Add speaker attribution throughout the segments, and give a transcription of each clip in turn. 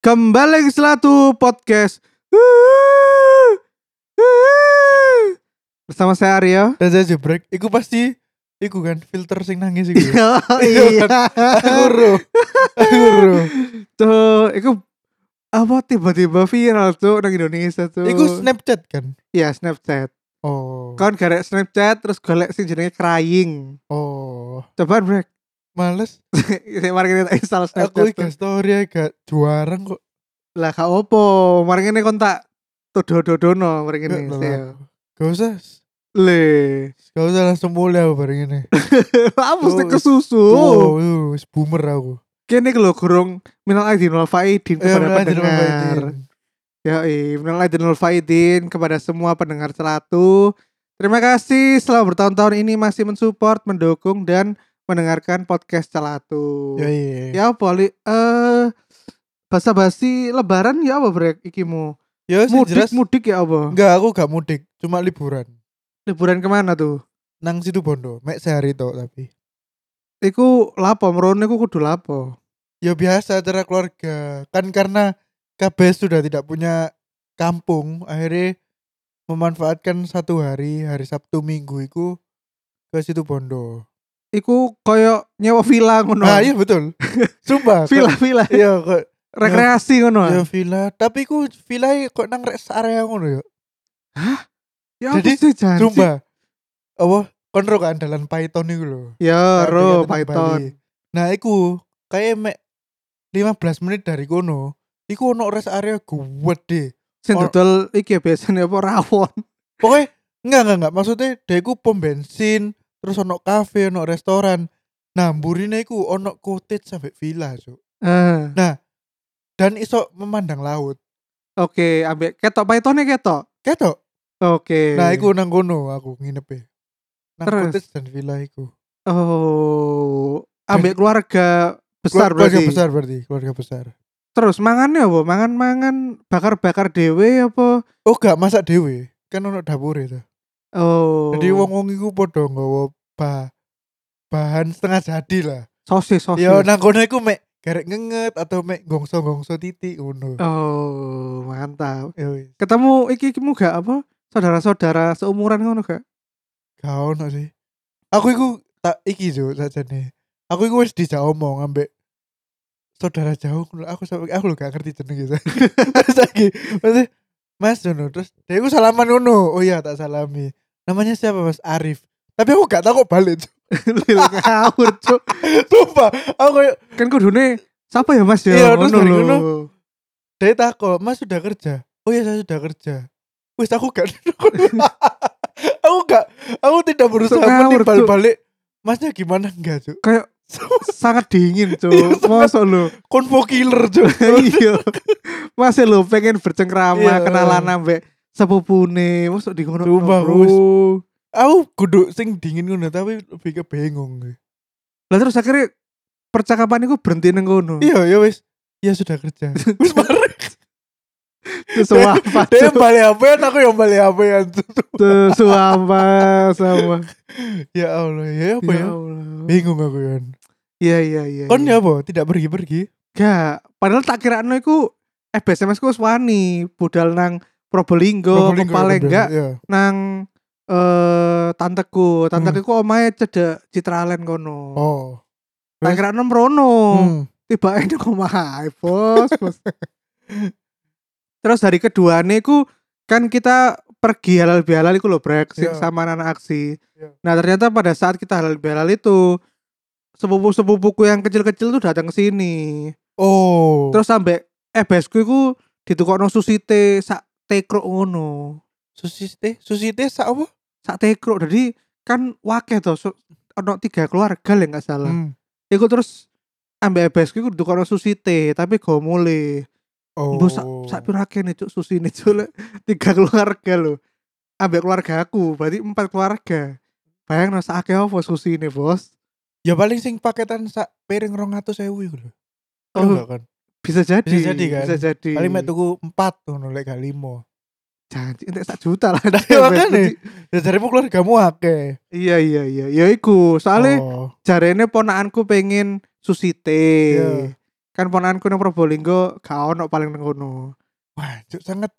Speaker 1: Kembali lagi Selatu Podcast Bersama saya Aryo
Speaker 2: dan saya jebrek iku pasti iku kan filter sing nangis iku ya?
Speaker 1: Oh
Speaker 2: Iya. aku ro aku ro
Speaker 1: Tuh, itu apa tiba-tiba viral tuh orang Indonesia tuh
Speaker 2: iku snapchat kan
Speaker 1: Iya Snapchat
Speaker 2: oh
Speaker 1: Kan garek Snapchat terus golek sing jenenge crying
Speaker 2: oh
Speaker 1: Coba break
Speaker 2: males
Speaker 1: Saya mari kita install
Speaker 2: aku
Speaker 1: Snapchat
Speaker 2: iga
Speaker 1: tuh.
Speaker 2: story gak juara kok
Speaker 1: Lah kak opo Mari ini kontak Tudododono mari
Speaker 2: gak
Speaker 1: ini
Speaker 2: lah. gak usah
Speaker 1: Le
Speaker 2: gak usah langsung mulai aku bareng ini
Speaker 1: Apa sih
Speaker 2: Tuh,
Speaker 1: kesusu
Speaker 2: oh wis boomer aku
Speaker 1: kene iki lho gurung minal aidin wal faidin
Speaker 2: Eh,
Speaker 1: kepada
Speaker 2: Rajin
Speaker 1: pendengar.
Speaker 2: Ramadan.
Speaker 1: Ya, minal aidin wal faidin kepada semua pendengar celatu. Terima kasih selama bertahun-tahun ini masih mensupport, mendukung dan mendengarkan podcast celatu.
Speaker 2: ya iya
Speaker 1: Ya apa li eh bahasa basi lebaran ya apa brek ikimu?
Speaker 2: ya sih
Speaker 1: Mudik
Speaker 2: jelas
Speaker 1: mudik ya apa?
Speaker 2: enggak aku gak mudik cuma liburan
Speaker 1: Liburan kemana tuh?
Speaker 2: nang situ bondo mek sehari tok tapi
Speaker 1: Iku lapo merone iku kudu lapo.
Speaker 2: ya biasa acara keluarga kan karena KB sudah tidak punya kampung akhirnya memanfaatkan satu hari hari Sabtu Minggu itu ke situ Bondo
Speaker 1: Iku koyo nyewa villa ngono.
Speaker 2: nah iya betul sumpah kok-
Speaker 1: Villa-villa
Speaker 2: iya kok
Speaker 1: rekreasi ngono.
Speaker 2: ya villa tapi ku villa kok nang rest area ngono ya
Speaker 1: Ya
Speaker 2: Jadi,
Speaker 1: apa sih janji?
Speaker 2: sumpah apa kontrol kan dalan Python itu loh
Speaker 1: Ya,
Speaker 2: Nah,
Speaker 1: ro
Speaker 2: kegiatan Bali.
Speaker 1: Python.
Speaker 2: Nah, iku kayak mek 15 menit dari kono, iku ono rest area gede.
Speaker 1: Sing
Speaker 2: Or-
Speaker 1: dodol iki ya biasanya apa rawon.
Speaker 2: Pokoknya enggak enggak enggak maksudnya deku pom bensin, terus ono kafe, ono restoran. Nah, mburine iku ono cottage sampai villa, Cuk.
Speaker 1: Eh,
Speaker 2: Dan iso memandang laut.
Speaker 1: Oke, ambek ketok Pythonnya ketok.
Speaker 2: Ketok.
Speaker 1: Oke.
Speaker 2: Nah, iku nang kono aku nginep e. Nang
Speaker 1: Terus?
Speaker 2: cottage dan villa iku.
Speaker 1: Oh, ambek keluarga besar
Speaker 2: Keluar- keluarga
Speaker 1: berarti.
Speaker 2: besar berarti, keluarga besar.
Speaker 1: Terus mangannya apa? Mangan-mangan bakar-bakar dewe apa?
Speaker 2: Oh, enggak masak dhewe. Kan ono dapur itu.
Speaker 1: Oh.
Speaker 2: Jadi wong-wong iku padha nggawa ba- bahan setengah jadi lah.
Speaker 1: sosis sosis.
Speaker 2: Ya nang kono iku mek garek ngenget atau mek gongso-gongso titik ngono.
Speaker 1: Oh, mantap.
Speaker 2: Ya wis,
Speaker 1: Ketemu iki ikimu gak apa? Saudara-saudara seumuran ngono gak?
Speaker 2: gak ono sih. Aku iku tak iki jo sajane. Aku iku wis dijak omong ambek saudara jauh ngono. aku sampe aku lho gak ngerti jeneng gitu. terus lagi maksudnya Mas ngono terus dia iku salaman ngono. Oh iya tak salami. Namanya siapa Mas Arif. Tapi aku gak tahu kok balik. Cuk.
Speaker 1: Lil ngawur, Cuk.
Speaker 2: Sumpah, aku kayak
Speaker 1: Kan kudune siapa ya Mas ya?
Speaker 2: Iya, terus dari
Speaker 1: lho.
Speaker 2: ngono. Dia takut, mas sudah kerja? Oh iya saya sudah kerja. Wis aku gak Aku gak Aku tidak berusaha
Speaker 1: ngawur,
Speaker 2: menimbal balik Masnya gimana enggak cuk
Speaker 1: Kayak sangat dingin
Speaker 2: Iya,
Speaker 1: cuk masa lo
Speaker 2: Konvo killer cuk
Speaker 1: iya masih lo pengen bercengkrama
Speaker 2: Oh, Iya.
Speaker 1: kenalan ambek sepupune masuk di ngono
Speaker 2: Sumpah,
Speaker 1: bro.
Speaker 2: Gus. Aku kudu sing dingin ngono Tapi lebih ke bengong
Speaker 1: lah terus akhirnya percakapan itu berhenti neng ngono
Speaker 2: Iya ya wis Ya sudah kerja Wis mari
Speaker 1: suampa
Speaker 2: Dia balik HP Aku yang balik kan. HP
Speaker 1: tuh suampa sama
Speaker 2: Ya Allah Ya apa
Speaker 1: ya
Speaker 2: ya
Speaker 1: Allah
Speaker 2: Bingung aku kan
Speaker 1: iya iya iya
Speaker 2: Kon
Speaker 1: iya.
Speaker 2: ya apa Tidak pergi-pergi
Speaker 1: gak padahal tak kira no iku eh SMS ku wani budal nang Probolinggo,
Speaker 2: Probolinggo ya,
Speaker 1: kepala
Speaker 2: bener.
Speaker 1: enggak
Speaker 2: Iya.
Speaker 1: nang eh tanteku, tanteku omahe cedek Citraland kono.
Speaker 2: Hmm. Oh
Speaker 1: Tak
Speaker 2: Terus?
Speaker 1: kira nom rono.
Speaker 2: Hmm.
Speaker 1: Tiba ini kok mahal, bos, bos. Terus hari kedua nih ku kan kita pergi halal bihalal itu loh brek sing
Speaker 2: Iya.
Speaker 1: sama anak aksi.
Speaker 2: Iya.
Speaker 1: Nah ternyata pada saat kita halal bihalal itu sepupu sepupuku yang kecil-kecil tuh datang ke sini.
Speaker 2: Oh
Speaker 1: Terus sampai eh besku itu ditukokno susite sak tekruk ngono.
Speaker 2: Susi teh, Susi eh, teh sak apa?
Speaker 1: Sak tekruk. Jadi kan wakeh to su- ono tiga keluarga lah nggak
Speaker 2: Hmm.
Speaker 1: salah. Iku terus ambek ebesku iku dukono susite tapi go mule.
Speaker 2: Oh.
Speaker 1: Mbok sak sak pira kene cuk susine cuk lek tiga keluarga lho. Ambek keluarga aku, berarti empat keluarga. Bayang rasa akeh apa susine, Bos?
Speaker 2: Ya paling sing paketan sak piring 200.000 iku lho.
Speaker 1: Oh,
Speaker 2: Tau nggak kan?
Speaker 1: Bisa jadi.
Speaker 2: Bisa jadi, kan?
Speaker 1: Bisa jadi.
Speaker 2: Paling mek tuku 4 ngono lek gak 5.
Speaker 1: Janji entek sak juta lah.
Speaker 2: ya makane. Ya jarimu keluargamu akeh.
Speaker 1: Iya iya iya. Ya iku, soalnya
Speaker 2: Oh.
Speaker 1: jarene ponakanku pengen susite.
Speaker 2: Iya.
Speaker 1: kan ponakanku nang Probolinggo gak ono paling nang kono.
Speaker 2: Wah, cuk sangat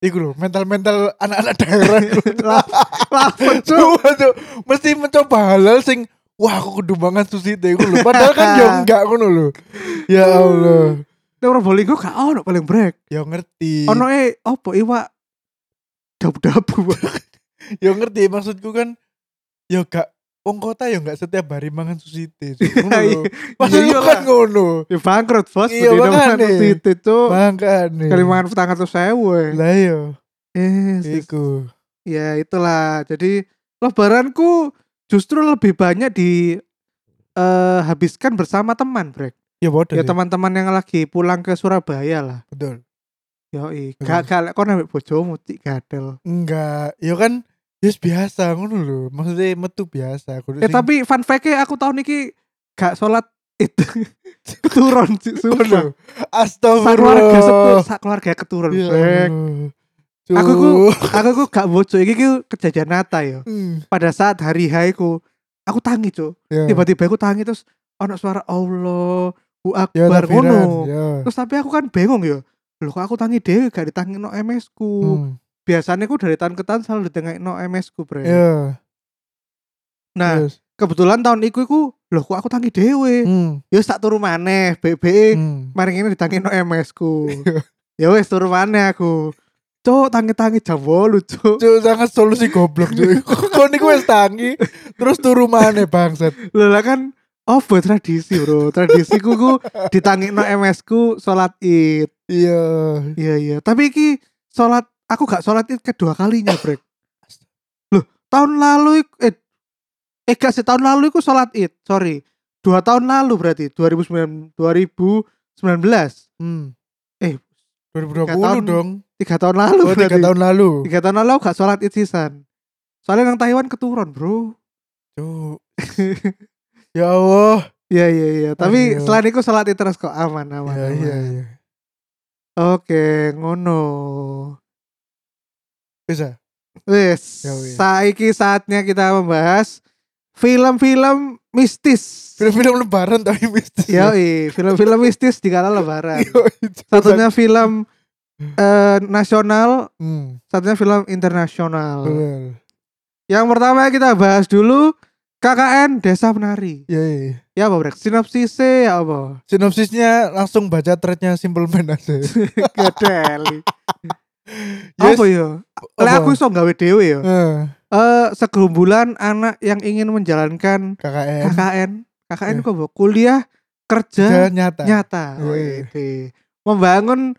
Speaker 2: Iku loh, mental-mental anak-anak daerah
Speaker 1: Lah, Lapet cuk.
Speaker 2: Cuk, cuk, mesti mencoba halal sing wah aku kudu mangan sushi teh iku lho. Padahal kan yo enggak ngono lho. Ya Allah.
Speaker 1: Nang Probolinggo gak ono paling brek.
Speaker 2: Yo ngerti.
Speaker 1: Ono e opo iwak dabu-dabu.
Speaker 2: Yo ngerti maksudku kan yo gak wong kota yo gak setiap hari mangan sushi teh. Cuk, Ngono lho. Maksudku
Speaker 1: Iya
Speaker 2: kan
Speaker 1: lah.
Speaker 2: ngono.
Speaker 1: Ya bangkrut bos,
Speaker 2: Iya,
Speaker 1: bedino
Speaker 2: makane.
Speaker 1: mangan situ cuk.
Speaker 2: Makane.
Speaker 1: Kali Oh. mangan petang atau sewe.
Speaker 2: Lah yo
Speaker 1: Eh, sis.
Speaker 2: iku.
Speaker 1: ya itulah. Jadi lebaranku justru lebih banyak di eh, habiskan bersama teman, brek.
Speaker 2: Ya bodoh.
Speaker 1: Ya
Speaker 2: sih.
Speaker 1: teman-teman yang lagi pulang ke Surabaya lah.
Speaker 2: Betul.
Speaker 1: Yo, i.
Speaker 2: Betul.
Speaker 1: gak gak kon ambek bojomu cik gadel.
Speaker 2: Enggak, yo kan yes biasa ngono lho. Maksudnya metu biasa.
Speaker 1: Eh
Speaker 2: Kudu sing-
Speaker 1: tapi fun fact aku tahun iki gak sholat itu turun cik sumpah.
Speaker 2: Waduh,
Speaker 1: Sak keluarga setur,
Speaker 2: astagfirullah.
Speaker 1: sak keluarga keturun.
Speaker 2: Ya
Speaker 1: Brek.
Speaker 2: Allah.
Speaker 1: Aku ku
Speaker 2: Cuk.
Speaker 1: aku ku gak bojo iki ku kejadian nata yo.
Speaker 2: Hmm,
Speaker 1: Pada saat hari haiku aku tangi cuk.
Speaker 2: ya.
Speaker 1: tiba-tiba aku tangi terus ono suara Allah ku
Speaker 2: Ya,
Speaker 1: akbar
Speaker 2: takbiran,
Speaker 1: ngono
Speaker 2: ya.
Speaker 1: terus tapi aku kan bingung ya loh kok aku tangi dhewe gak ditangi no MS ku
Speaker 2: Hmm,
Speaker 1: biasanya aku dari tahun ke tahun selalu ditangi no MS ku bre
Speaker 2: ya,
Speaker 1: nah
Speaker 2: yes.
Speaker 1: kebetulan tahun iku iku loh kok aku tangi dhewe
Speaker 2: Hmm,
Speaker 1: ya tak turu maneh BB
Speaker 2: hmm.
Speaker 1: mari ini ditangi no MS ku ya wes turu maneh aku cuk tangi-tangi jam 8 cuk
Speaker 2: Cuk, sangat solusi goblok cuy. Kau niku wis tangi, terus turu maneh bangsat.
Speaker 1: Lho lah kan Apa tradisi bro Tradisi ku ku Ditangi no MS ku Sholat id
Speaker 2: Iya.
Speaker 1: Iya iya, tapi iki sholat aku gak sholat itu kedua kalinya, Brek. Loh, tahun lalu ik- eh eh gak sih tahun lalu aku sholat id, sorry. Dua tahun lalu berarti 2009 2019.
Speaker 2: Hmm.
Speaker 1: Eh,
Speaker 2: 2020
Speaker 1: tahun.
Speaker 2: dong.
Speaker 1: Tiga tahun lalu
Speaker 2: Oh,
Speaker 1: berarti.
Speaker 2: tiga tahun lalu.
Speaker 1: Tiga tahun lalu aku gak sholat id sisan. Soalnya nang Taiwan keturun, Bro.
Speaker 2: Cuk. Ya Allah.
Speaker 1: Iya iya iya, tapi
Speaker 2: Aduh.
Speaker 1: selain itu sholat id terus kok aman aman.
Speaker 2: Ya,
Speaker 1: aman.
Speaker 2: iya, iya.
Speaker 1: Oke, ngono.
Speaker 2: Bisa.
Speaker 1: Wes,
Speaker 2: Ya wes.
Speaker 1: saiki saatnya kita membahas film-film mistis.
Speaker 2: Film-film lebaran tapi mistis. Iya,
Speaker 1: Yoi, film-film mistis di kala lebaran.
Speaker 2: itu.
Speaker 1: Satunya film eh, nasional,
Speaker 2: Hmm.
Speaker 1: satunya film internasional.
Speaker 2: Benar.
Speaker 1: Yang pertama kita bahas dulu KKN Desa Penari.
Speaker 2: Ya, iya.
Speaker 1: Ya apa brek? Sinopsisnya ya apa?
Speaker 2: Sinopsisnya langsung baca threadnya Simple Man aja.
Speaker 1: Gadeli.
Speaker 2: Yes.
Speaker 1: Apa yo? Lek
Speaker 2: Apa?
Speaker 1: aku iso gawe dhewe yo.
Speaker 2: Eh,
Speaker 1: Eh segerombolan anak yang ingin menjalankan
Speaker 2: KKN.
Speaker 1: KKN KKN
Speaker 2: Ya.
Speaker 1: kok Bo? kuliah
Speaker 2: Kerja
Speaker 1: kerja
Speaker 2: nyata.
Speaker 1: nyata
Speaker 2: Iya, iya.
Speaker 1: Wede. membangun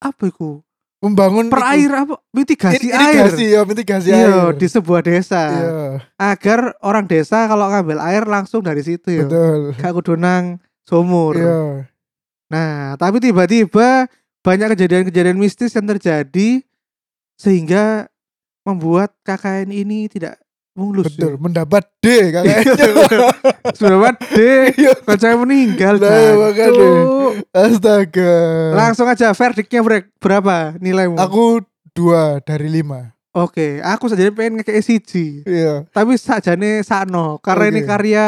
Speaker 1: apa itu
Speaker 2: Membangun
Speaker 1: perair apa mitigasi air
Speaker 2: Mitigasi ya, mitigasi air.
Speaker 1: Iya, di sebuah desa
Speaker 2: Iya,
Speaker 1: agar orang desa kalau ngambil air langsung dari situ ya
Speaker 2: betul.
Speaker 1: gak kudu nang sumur
Speaker 2: Iya.
Speaker 1: nah tapi tiba-tiba banyak kejadian-kejadian mistis yang terjadi sehingga membuat KKN ini tidak mulus
Speaker 2: Betul, mendapat D
Speaker 1: Iya,
Speaker 2: KKN.
Speaker 1: sudah deh
Speaker 2: Iya.
Speaker 1: kocoknya meninggal
Speaker 2: Lah, iya,
Speaker 1: Jan.
Speaker 2: makanya.
Speaker 1: Cuk.
Speaker 2: Astaga.
Speaker 1: Langsung aja verdictnya brek berapa nilaimu?
Speaker 2: Aku dua dari lima.
Speaker 1: Oke, aku saja pengen ngekei siji.
Speaker 2: Iya.
Speaker 1: Tapi sajane sakno karena
Speaker 2: Oke.
Speaker 1: ini karya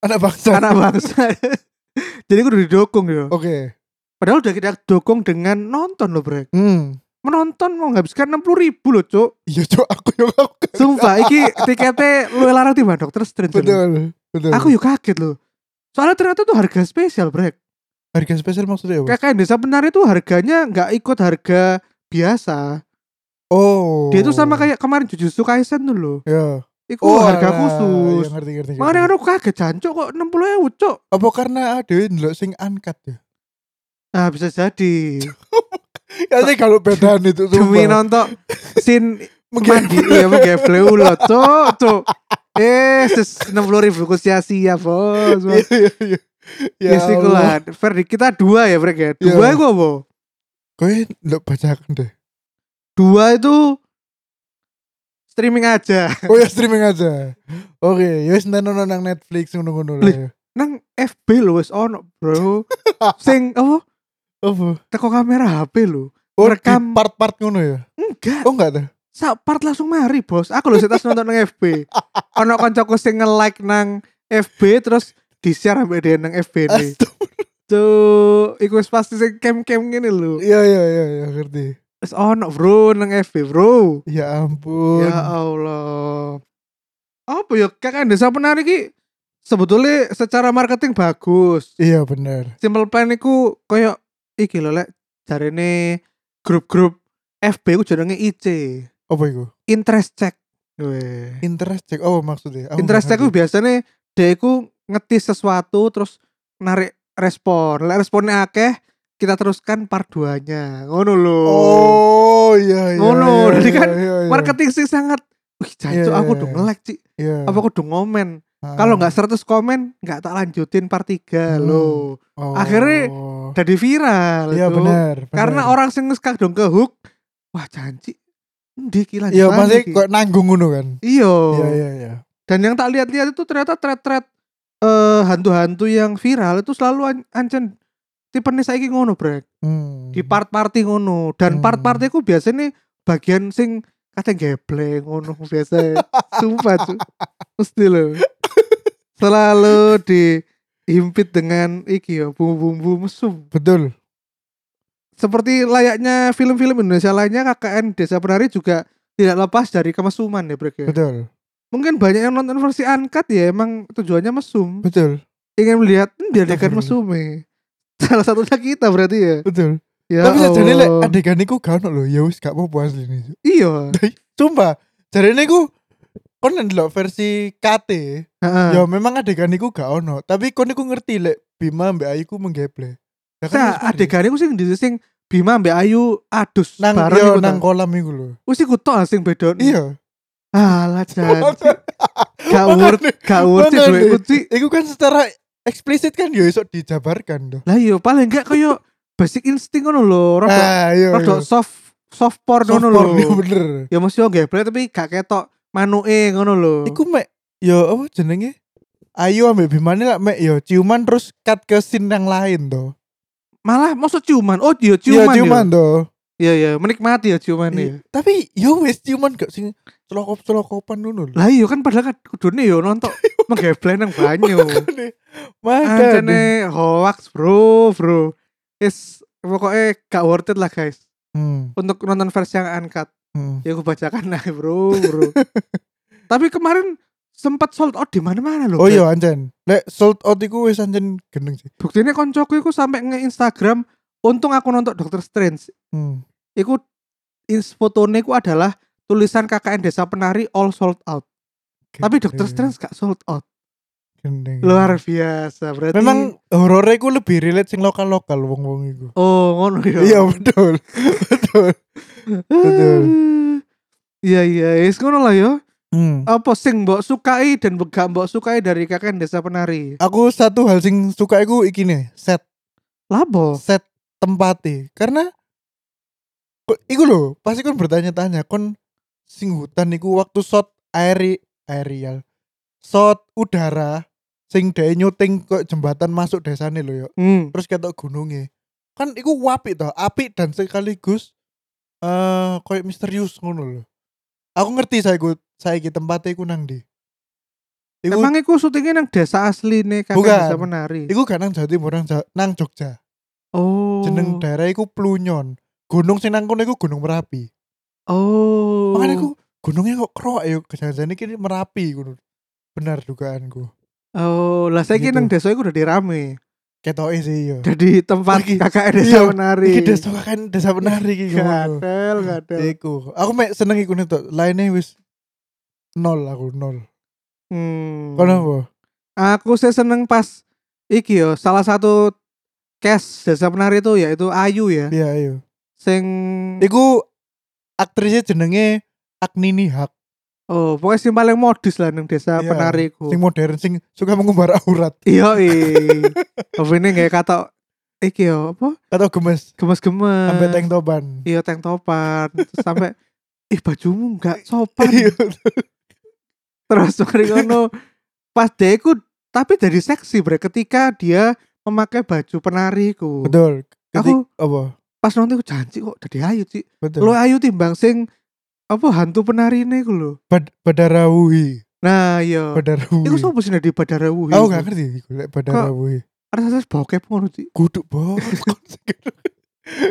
Speaker 2: Anak bangsa.
Speaker 1: anak bangsa. Jadi aku udah didukung ya.
Speaker 2: Oke.
Speaker 1: Padahal udah kita dukung dengan nonton loh brek.
Speaker 2: Hmm.
Speaker 1: Menonton menghabiskan 60 ribu loh cuk.
Speaker 2: Iya, cok aku yang aku.
Speaker 1: Sumpah, iki tiketnya lu larang tiba dokter Strange. loh.
Speaker 2: Betul. Betul.
Speaker 1: Aku ya- yuk kaget loh. Soalnya ternyata tuh harga spesial brek.
Speaker 2: harga spesial maksudnya apa?
Speaker 1: KKN Desa Penari itu harganya nggak ikut harga biasa.
Speaker 2: Oh.
Speaker 1: Dia tuh sama kayak kemarin Jujutsu Kaisen dulu loh.
Speaker 2: Iya.
Speaker 1: Iku harga
Speaker 2: alah.
Speaker 1: khusus.
Speaker 2: Iya, ngerti, ngerti. ngerti.
Speaker 1: Mana aku kaget jancuk kok 60 ewu cok.
Speaker 2: Apa karena ada yang ndelok sing uncut ya?
Speaker 1: Nah bisa jadi
Speaker 2: Ya sih kalau bedaan itu
Speaker 1: Demi nonton Sin
Speaker 2: Mungkin
Speaker 1: mandi Ya menggeble ulo cok cok Eh ses 60 ribu ku sia-sia bos
Speaker 2: Iya iya iya.
Speaker 1: Ya
Speaker 2: Ya Allah.
Speaker 1: sikulan Ferdi kita dua ya Brek ya Dua
Speaker 2: Iya.
Speaker 1: itu apa?
Speaker 2: Kowe ndelok bacakan deh.
Speaker 1: Dua itu Streaming aja
Speaker 2: Oh ya streaming aja. Oke, ya wis nonton nang Netflix
Speaker 1: Lih.
Speaker 2: ngono-ngono lah. ya.
Speaker 1: Nang FB lo wes ono bro Sing apa?
Speaker 2: Apa?
Speaker 1: Teko kamera HP lo
Speaker 2: Oh,
Speaker 1: Rekam.
Speaker 2: rekam part-part ngono ya.
Speaker 1: Enggak
Speaker 2: Oh enggak tuh.
Speaker 1: sak part langsung mari bos aku lho setas nonton nang FB ono Iya, koncoku sing nge-like nang FB terus di share sampe dia nang FB ne Cuk, iku wis pasti sing kem-kem ngene lho.
Speaker 2: Iya iya iya iya ngerti.
Speaker 1: Wis ono bro nang FB, bro.
Speaker 2: Ya ampun.
Speaker 1: Ya Allah. Apa ya kakak desa penari ki sebetulnya secara marketing bagus.
Speaker 2: Iya bener.
Speaker 1: Simple Plan iku koyo iki lho lek jarene grup-grup FB ku jenenge IC.
Speaker 2: Apa iku?
Speaker 1: Interest check. Weh.
Speaker 2: Interest check. Oh maksudnya. Aku
Speaker 1: Interest
Speaker 2: nggak
Speaker 1: check ku biasanya dia ku ngetis sesuatu terus narik respon. Lek responnya akeh kita teruskan part 2-nya. Ngono lho.
Speaker 2: ngerti. Oh iya iya.
Speaker 1: Ngono,
Speaker 2: iya,
Speaker 1: jadi kan
Speaker 2: iya, iya.
Speaker 1: Marketing sih sangat Wih, jancuk
Speaker 2: Iya,
Speaker 1: aku
Speaker 2: iya,
Speaker 1: udah
Speaker 2: iya.
Speaker 1: nge-like, Cik.
Speaker 2: Iya.
Speaker 1: Apa aku udah ngomen?
Speaker 2: Ah.
Speaker 1: Kalau nggak 100 komen, nggak tak lanjutin part 3
Speaker 2: Hmm.
Speaker 1: loh.
Speaker 2: Oh.
Speaker 1: akhirnya Jadi viral.
Speaker 2: Iya
Speaker 1: Cuk.
Speaker 2: bener. bener.
Speaker 1: Karena orang sing ngesekak dong ke hook. Wah, janji. Endi ki lanjut
Speaker 2: Iya
Speaker 1: lagi
Speaker 2: masih
Speaker 1: ki.
Speaker 2: kok nanggung ngono kan.
Speaker 1: Iya.
Speaker 2: Iya iya iya.
Speaker 1: Dan yang tak lihat-lihat itu ternyata thread-thread eh hantu-hantu yang viral itu selalu an ancen tipenya saiki ngono, Brek.
Speaker 2: Hmm.
Speaker 1: Di part-party ngono. Dan
Speaker 2: Hmm.
Speaker 1: part-party ku biasanya bagian sing kadang gebleng ngono biasa. Sumpah, Cuk. Mesti lho. Selalu dihimpit dengan iki ya bumbu-bumbu mesum.
Speaker 2: Betul.
Speaker 1: seperti layaknya film-film Indonesia lainnya KKN Desa Penari juga tidak lepas dari kemesuman ya Brek ya.
Speaker 2: Betul.
Speaker 1: Mungkin banyak yang nonton versi uncut ya emang tujuannya mesum.
Speaker 2: Betul.
Speaker 1: Ingin melihat hmm, dia adegan
Speaker 2: Astagfirullah.
Speaker 1: mesumnya. Salah satunya kita berarti ya.
Speaker 2: Betul.
Speaker 1: Ya
Speaker 2: Tapi jadi lek
Speaker 1: Allah.
Speaker 2: adegan iku gak ono lho. Ya wis gak apa-apa asline.
Speaker 1: Iya.
Speaker 2: Sumpah, jarene iku kon ndelok versi KT,
Speaker 1: Heeh. Nah,
Speaker 2: ya memang adegan iku gak ono, tapi kon iku ngerti lek Bima mbek Ayu ku menggeble. Ya kan
Speaker 1: Nah,
Speaker 2: wis mari.
Speaker 1: adegan itu sing di sing Bima mbak Ayu adus
Speaker 2: nang
Speaker 1: bareng
Speaker 2: yo
Speaker 1: iku Hmm.
Speaker 2: nang
Speaker 1: nang
Speaker 2: kolam iku lho.
Speaker 1: Wis iku tok sing beda.
Speaker 2: Iya.
Speaker 1: Alah jan. Gak
Speaker 2: Makanya-
Speaker 1: worth, gak worth
Speaker 2: makanya.
Speaker 1: duitku Cik.
Speaker 2: Iku kan secara eksplisit kan yo iso dijabarkan toh.
Speaker 1: Lah iya paling gak koyo basic instinct ngono lho, rodok
Speaker 2: Ah, iya.
Speaker 1: Rodok
Speaker 2: iya.
Speaker 1: soft soft porn
Speaker 2: Soft
Speaker 1: ngono
Speaker 2: porn, iya,
Speaker 1: lho.
Speaker 2: bener.
Speaker 1: Ya mesti yo geblek tapi gak ketok manuke ngono lho.
Speaker 2: Iku mek yo apa jenenge? Ayu ambek Bima ini lah mek yo ciuman terus cut ke scene yang lain toh.
Speaker 1: Malah maksud ciuman. Oh, iya
Speaker 2: Iya,
Speaker 1: ciuman. ya.
Speaker 2: ciuman toh.
Speaker 1: Iya iya, menikmati ya ciuman ya.
Speaker 2: Iya, Tapi yo wis ciuman gak sing celokop-celokopan ngono lho.
Speaker 1: Lah iya kan padahal kan kudune yo nonton menggeblek nang banyu.
Speaker 2: Kan ya? Makane.
Speaker 1: Ancene hoax, Bro, Bro. Is pokoknya gak worth it lah guys.
Speaker 2: Hmm.
Speaker 1: Untuk nonton versi yang uncut.
Speaker 2: hmm.
Speaker 1: Ya aku bacakan lah, Bro, Bro. Tapi kemarin sempat sold out di mana-mana loh.
Speaker 2: Oh
Speaker 1: Bro.
Speaker 2: iya anjen. Lek sold out iku wis anjen gendeng sih.
Speaker 1: buktinya koncoku iku sampai nge Instagram untung aku nonton Doctor Strange
Speaker 2: Hmm.
Speaker 1: iku ins fotone iku adalah tulisan KKN Desa Penari all sold out tapi Doctor Strange gak sold out
Speaker 2: gendeng.
Speaker 1: luar biasa berarti
Speaker 2: Iya. Memang horor iku lebih relate sing lokal-lokal wong-wong iku.
Speaker 1: oh ngono ya
Speaker 2: Iya betul. betul. betul.
Speaker 1: Eh. iya iya wis ngono lah yo
Speaker 2: Hmm.
Speaker 1: apa sing mbok sukai dan gak mbok sukai dari KKN Desa Penari
Speaker 2: Aku satu hal sing suka iku iki nih, set
Speaker 1: lapo
Speaker 2: set tempatnya karena Ko- iku lho, pasti kon bertanya-tanya kon sing hutan iku waktu shot aeri aerial shot udara sing dhewe nyuting kok jembatan masuk desane lho yo
Speaker 1: hmm.
Speaker 2: terus ketok gunungnya kan iku wapi toh api dan sekaligus eh koyo misterius ngono lho aku ngerti saya iku saya iki tempatnya iku nang di iku
Speaker 1: emang iku syutingnya nang desa asli nih KKN
Speaker 2: Bukan.
Speaker 1: Desa Penari
Speaker 2: iku gak nang Jawa Timur nang, Ja- nang Jogja
Speaker 1: oh
Speaker 2: jeneng daerah iku Plunyon gunung sing nang kono iku Gunung Merapi
Speaker 1: oh
Speaker 2: makanya aku gunungnya kok kerok ya jangan-jangan ini Merapi ngono benar dugaanku
Speaker 1: Oh, lah saya
Speaker 2: Gitu.
Speaker 1: nang desa iku udah dirame.
Speaker 2: ketoke sih ya
Speaker 1: Jadi tempat
Speaker 2: Lagi-
Speaker 1: kakak desa
Speaker 2: iya,
Speaker 1: menari.
Speaker 2: iki desa kan desa penari
Speaker 1: Iya,
Speaker 2: iki Iya. ngono.
Speaker 1: Gatel, gatel.
Speaker 2: Iku. Aku mek seneng iku nek lainnya wis nol aku nol.
Speaker 1: Hmm.
Speaker 2: Kono apa?
Speaker 1: Aku sih seneng pas iki yo salah satu cast desa menari itu yaitu Ayu ya.
Speaker 2: Iya iya.
Speaker 1: Sing
Speaker 2: Iku aktrisnya jenenge Agnini Hak
Speaker 1: oh, pokoknya sing paling modis lah nang desa
Speaker 2: Iya.
Speaker 1: penari iku.
Speaker 2: sing modern sing suka mengumbar aurat
Speaker 1: Iya, eh. Tapi ini kayak kata "Eh, iki yo apa?
Speaker 2: atau gemes
Speaker 1: Gemes-gemes.
Speaker 2: sampai tank toban.
Speaker 1: Iya, tank topan. Terus sampai ih bajumu nggak sopan.
Speaker 2: Iya.
Speaker 1: Terus mari ngono pas dia iku tapi dari seksi bre ketika dia memakai baju penariku.
Speaker 2: Betul. Ketik,
Speaker 1: Aku-
Speaker 2: apa?
Speaker 1: Pas nanti aku janji kok dari ayu sih.
Speaker 2: Betul.
Speaker 1: Lu ayu timbang sing apa hantu penari ini iku lho.
Speaker 2: Bad Badarawuhi.
Speaker 1: Nah iya.
Speaker 2: Badarawuhi.
Speaker 1: Iku sopo sih di Badarawuhi?
Speaker 2: Aku
Speaker 1: iku?
Speaker 2: gak ngerti iku lek Badarawuhi.
Speaker 1: Rasa-rasa bokep ngono sih.
Speaker 2: Kudu bos.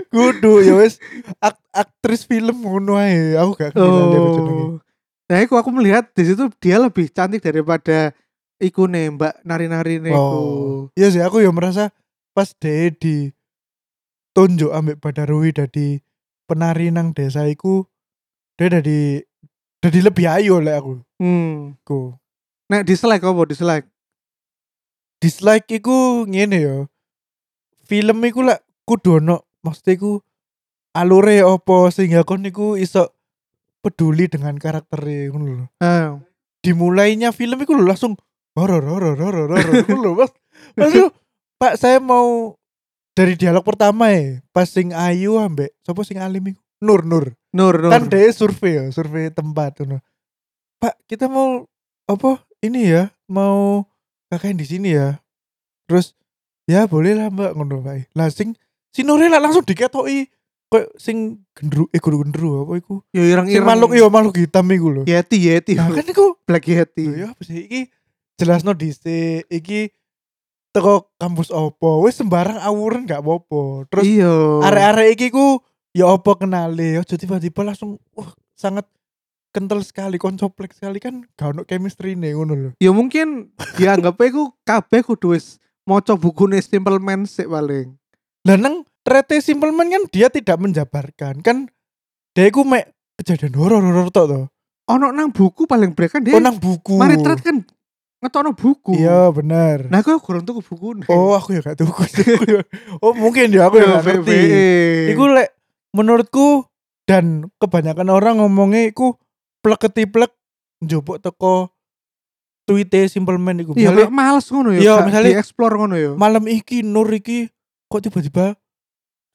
Speaker 2: Kudu ya wes Ak- aktris film ngono ae. Aku gak ngerti lah lihat jenenge.
Speaker 1: Oh. Nah, aku aku melihat di situ dia lebih cantik daripada iku nih Mbak nari-nari nih
Speaker 2: Oh. Iya sih aku ya merasa pas dia di tunjuk ambek Badarwi dari penari nang desa iku dia dari dari lebih ayo lah aku.
Speaker 1: Hmm.
Speaker 2: Ku.
Speaker 1: Nek dislike apa dislike?
Speaker 2: Dislike iku ngene ya. Film iku lah kudu ono maksudnya iku alure apa sehingga kon iku iso peduli dengan karakternya ngono lho.
Speaker 1: Ah.
Speaker 2: dimulainya film itu lho langsung horor horor horor horor itu lho mas Mas, lho, pak saya mau dari dialog pertama ya pas sing ayu ambek siapa sing alim iku? nur nur
Speaker 1: Nur, Nur.
Speaker 2: kan dia survei ya survei tempat ngono. pak kita mau apa ini ya mau kakak di sini ya terus ya boleh lah mbak ngono pak lah sing si Nure lah langsung diketoki kok sing gendru eh gendru gendru apa iku
Speaker 1: Yo
Speaker 2: sing
Speaker 1: ireng-ireng.
Speaker 2: makhluk iya makhluk hitam iku lho
Speaker 1: Yeti, Yeti.
Speaker 2: nah kan iku
Speaker 1: Black
Speaker 2: Lho,
Speaker 1: Yeti.
Speaker 2: ya apa sih iki jelasno dhisik iki teko kampus opo wis sembarang awuren gak apa-apa terus
Speaker 1: Iya.
Speaker 2: arek-arek iki ku ya opo kenale ya jadi tiba-tiba langsung wah sangat kental sekali koncoplek sekali kan gak ono chemistry nih ngono lho
Speaker 1: Ya mungkin dianggapnya iku kabeh kudu wis maca bukune Simple Man sik paling.
Speaker 2: lah nang trete simple man kan dia tidak menjabarkan kan dia ku mek kejadian horor-horor tok to
Speaker 1: Ono nang buku paling break kan dia.
Speaker 2: oh nang buku
Speaker 1: Mari Tret kan ngetokno buku.
Speaker 2: iya bener
Speaker 1: Nah, aku kurang tuku buku
Speaker 2: oh aku ya gak tuku oh mungkin ya aku ya gak ngerti
Speaker 1: Iya.
Speaker 2: Iku lek menurutku dan kebanyakan orang ngomongnya iku plek ketiplek njupuk teko tweete Simple Man iku.
Speaker 1: Iya, kayak
Speaker 2: Misalnya,
Speaker 1: males ngono ya.
Speaker 2: Iya,
Speaker 1: Kak,
Speaker 2: misalnya-
Speaker 1: di-explore ngono ya.
Speaker 2: malam iki Nur iki kok tiba-tiba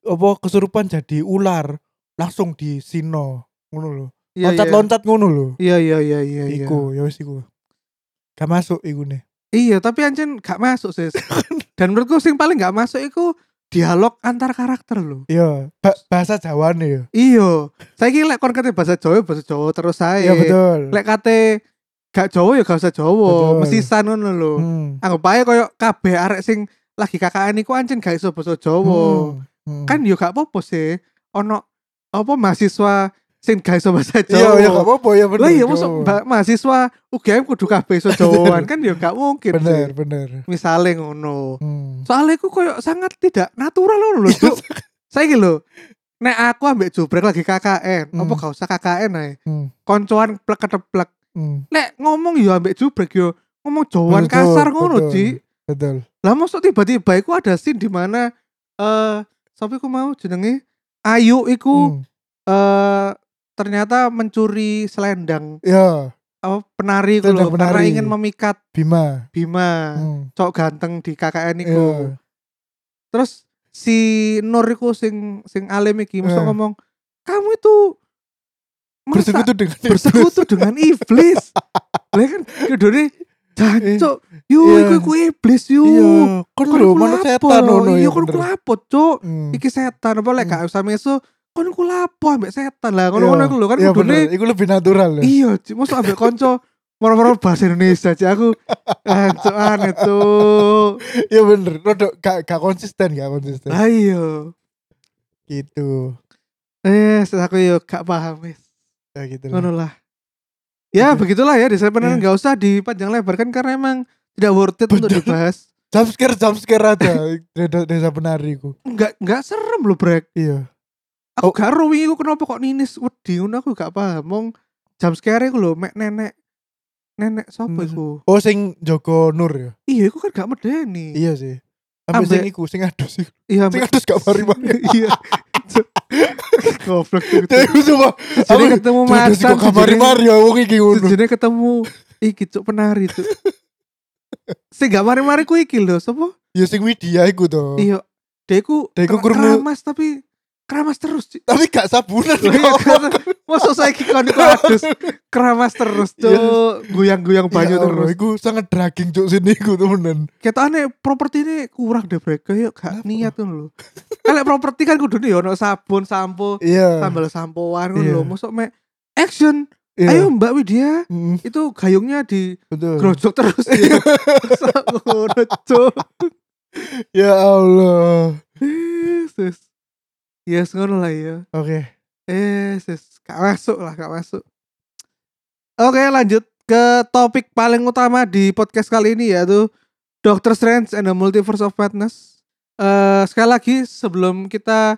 Speaker 2: apa kesurupan jadi ular langsung di sino ngono lho.
Speaker 1: Iya, iya.
Speaker 2: Loncat-loncat ngono lho.
Speaker 1: Iya, iya, iya, iya, iya.
Speaker 2: Iku ya wis iku. Gak masuk iku nih.
Speaker 1: Iya, tapi ancen gak masuk, Sis. Dan menurutku sing paling gak masuk iku dialog antar karakter loh.
Speaker 2: Iya, ba- bahasa Jawane ya.
Speaker 1: Iya. Saya kira lek kon kate bahasa Jawa, bahasa Jawa terus saya.
Speaker 2: Iya betul.
Speaker 1: Lek kate gak Jawa ya gak usah Jawa,
Speaker 2: Betul.
Speaker 1: mesisan ngono lho.
Speaker 2: Hmm.
Speaker 1: Anggap ae koyo kabeh arek sing lagi KKN iku ancen gak iso bahasa Jawa.
Speaker 2: Hmm.
Speaker 1: Kan yo gak apa-apa sih. Ono apa mahasiswa sing gak iso bahasa Jawa.
Speaker 2: iya ya gak apa-apa ya bener.
Speaker 1: Lah iya
Speaker 2: Jawa.
Speaker 1: masuk ba- mahasiswa UGM kudu kabeh iso Jawaan kan ya gak mungkin.
Speaker 2: bener
Speaker 1: sih.
Speaker 2: bener.
Speaker 1: Misale ngono.
Speaker 2: Hmm.
Speaker 1: Soalnya aku koyo sangat tidak natural ngono lho. Cuk. Saiki lho. Nek aku ambek Jubrek lagi KKN,
Speaker 2: Hmm.
Speaker 1: apa gak usah KKN ae.
Speaker 2: Hmm.
Speaker 1: Koncoan plek keteplek.
Speaker 2: Hmm,
Speaker 1: Nek ngomong yo ambek Jubrek yo ngomong Jawaan
Speaker 2: Betul,
Speaker 1: kasar ngono,
Speaker 2: betul.
Speaker 1: Ci.
Speaker 2: betul.
Speaker 1: Lah mosok tiba-tiba iku ada scene di mana eh sampai aku mau jenenge Ayu iku
Speaker 2: Hmm.
Speaker 1: eh ternyata mencuri selendang
Speaker 2: Ya,
Speaker 1: apa penari itu loh
Speaker 2: Selendang
Speaker 1: karena
Speaker 2: penari.
Speaker 1: ingin memikat
Speaker 2: Bima.
Speaker 1: Bima
Speaker 2: Hmm.
Speaker 1: cok ganteng di KKN
Speaker 2: Iya.
Speaker 1: iku terus si Nur iku sing sing alim iki mesti
Speaker 2: Eh.
Speaker 1: ngomong kamu itu masa
Speaker 2: Bersekutu dengan
Speaker 1: bersekutu dengan iblis lah kan kedone jancuk yu
Speaker 2: Iya.
Speaker 1: iku iku iblis yu
Speaker 2: Iya, kon
Speaker 1: Kon
Speaker 2: lho
Speaker 1: iku
Speaker 2: manut
Speaker 1: lapo?
Speaker 2: setan ngono
Speaker 1: iya
Speaker 2: ya.
Speaker 1: kon
Speaker 2: bener.
Speaker 1: kulapo cok
Speaker 2: Hmm.
Speaker 1: iki setan apa lek
Speaker 2: Hmm.
Speaker 1: gak usah mesu kon kulapo ambek setan lah ngono-ngono
Speaker 2: Iya,
Speaker 1: iku lho kan
Speaker 2: iya,
Speaker 1: kudune
Speaker 2: bener. Iku lebih natural ya.
Speaker 1: Iya, Cik. masa ambil konco moro-moro bahasa Indonesia Cik. aku ancuk aneh tuh.
Speaker 2: Iya bener. Rodok gak gak konsisten, gak konsisten.
Speaker 1: Ayo.
Speaker 2: Gitu.
Speaker 1: iya. Eh, saya aku yo gak paham wis.
Speaker 2: Ya gitu lah.
Speaker 1: Ngono lah. Ya,
Speaker 2: Iya.
Speaker 1: begitulah ya, desain penenun
Speaker 2: Iya.
Speaker 1: nggak usah dipanjang lebar kan karena emang tidak worth it untuk
Speaker 2: Betul.
Speaker 1: dibahas.
Speaker 2: Jump scare, jump scare aja Desa- desa penariku.
Speaker 1: Enggak enggak serem loh, Brek.
Speaker 2: Iya.
Speaker 1: Aku gak ero wingi iku kenapa kok ninis wedi ngono aku gak paham. Mong jam scare iku lho mek nenek nenek sapa
Speaker 2: Hmm.
Speaker 1: iku?
Speaker 2: Oh sing Joko Nur ya.
Speaker 1: Iya, iku kan gak medeni.
Speaker 2: Iya sih. Ambil
Speaker 1: Ambek-
Speaker 2: sing iku, sing adus iku.
Speaker 1: Iya,
Speaker 2: Sing
Speaker 1: mek-
Speaker 2: adus gak mari-mari.
Speaker 1: Iya. Goblok tuh.
Speaker 2: Dewi coba. Oh,
Speaker 1: Jadi ketemu
Speaker 2: Adus
Speaker 1: macan,
Speaker 2: kok gak mari-mari ya wong iki ngono.
Speaker 1: Jadi ketemu iki cuk penari cuk. Sing gak mari-mari ku iki lho, sapa?
Speaker 2: Ya sing Widya iku to.
Speaker 1: Iya. Deku
Speaker 2: Deku
Speaker 1: kera-
Speaker 2: krungu-
Speaker 1: keramas tapi keramas terus. Cuk.
Speaker 2: Tapi gak sabunan
Speaker 1: Lah, iya, keramas. Masa saiki kon iku adus keramas terus cuk, Ya
Speaker 2: Iya,
Speaker 1: goyang-goyang banyu terus.
Speaker 2: Ya Iku sangat dragging cuk sini iku temenan.
Speaker 1: Ketane properti ini kurang deh brek, kayak gak
Speaker 2: Kenapa?
Speaker 1: niat ngono lho. Kalau properti kan kudune ya ono sabun, sampo,
Speaker 2: Iya.
Speaker 1: sambal sampoan ngono
Speaker 2: Iya.
Speaker 1: lho. Mosok mek action.
Speaker 2: iya.
Speaker 1: Ayo Mbak Widya,
Speaker 2: Mm,
Speaker 1: itu gayungnya di
Speaker 2: betul.
Speaker 1: grojok terus ya. Terus aku ngono, Cuk.
Speaker 2: ya Allah.
Speaker 1: Yesus. Yes ngono lah ya.
Speaker 2: Oke.
Speaker 1: Yesus, gak masuk lah, gak masuk. Oke, lanjut ke topik paling utama di podcast kali ini yaitu Doctor Strange and the Multiverse of Madness. Eh sekali lagi sebelum kita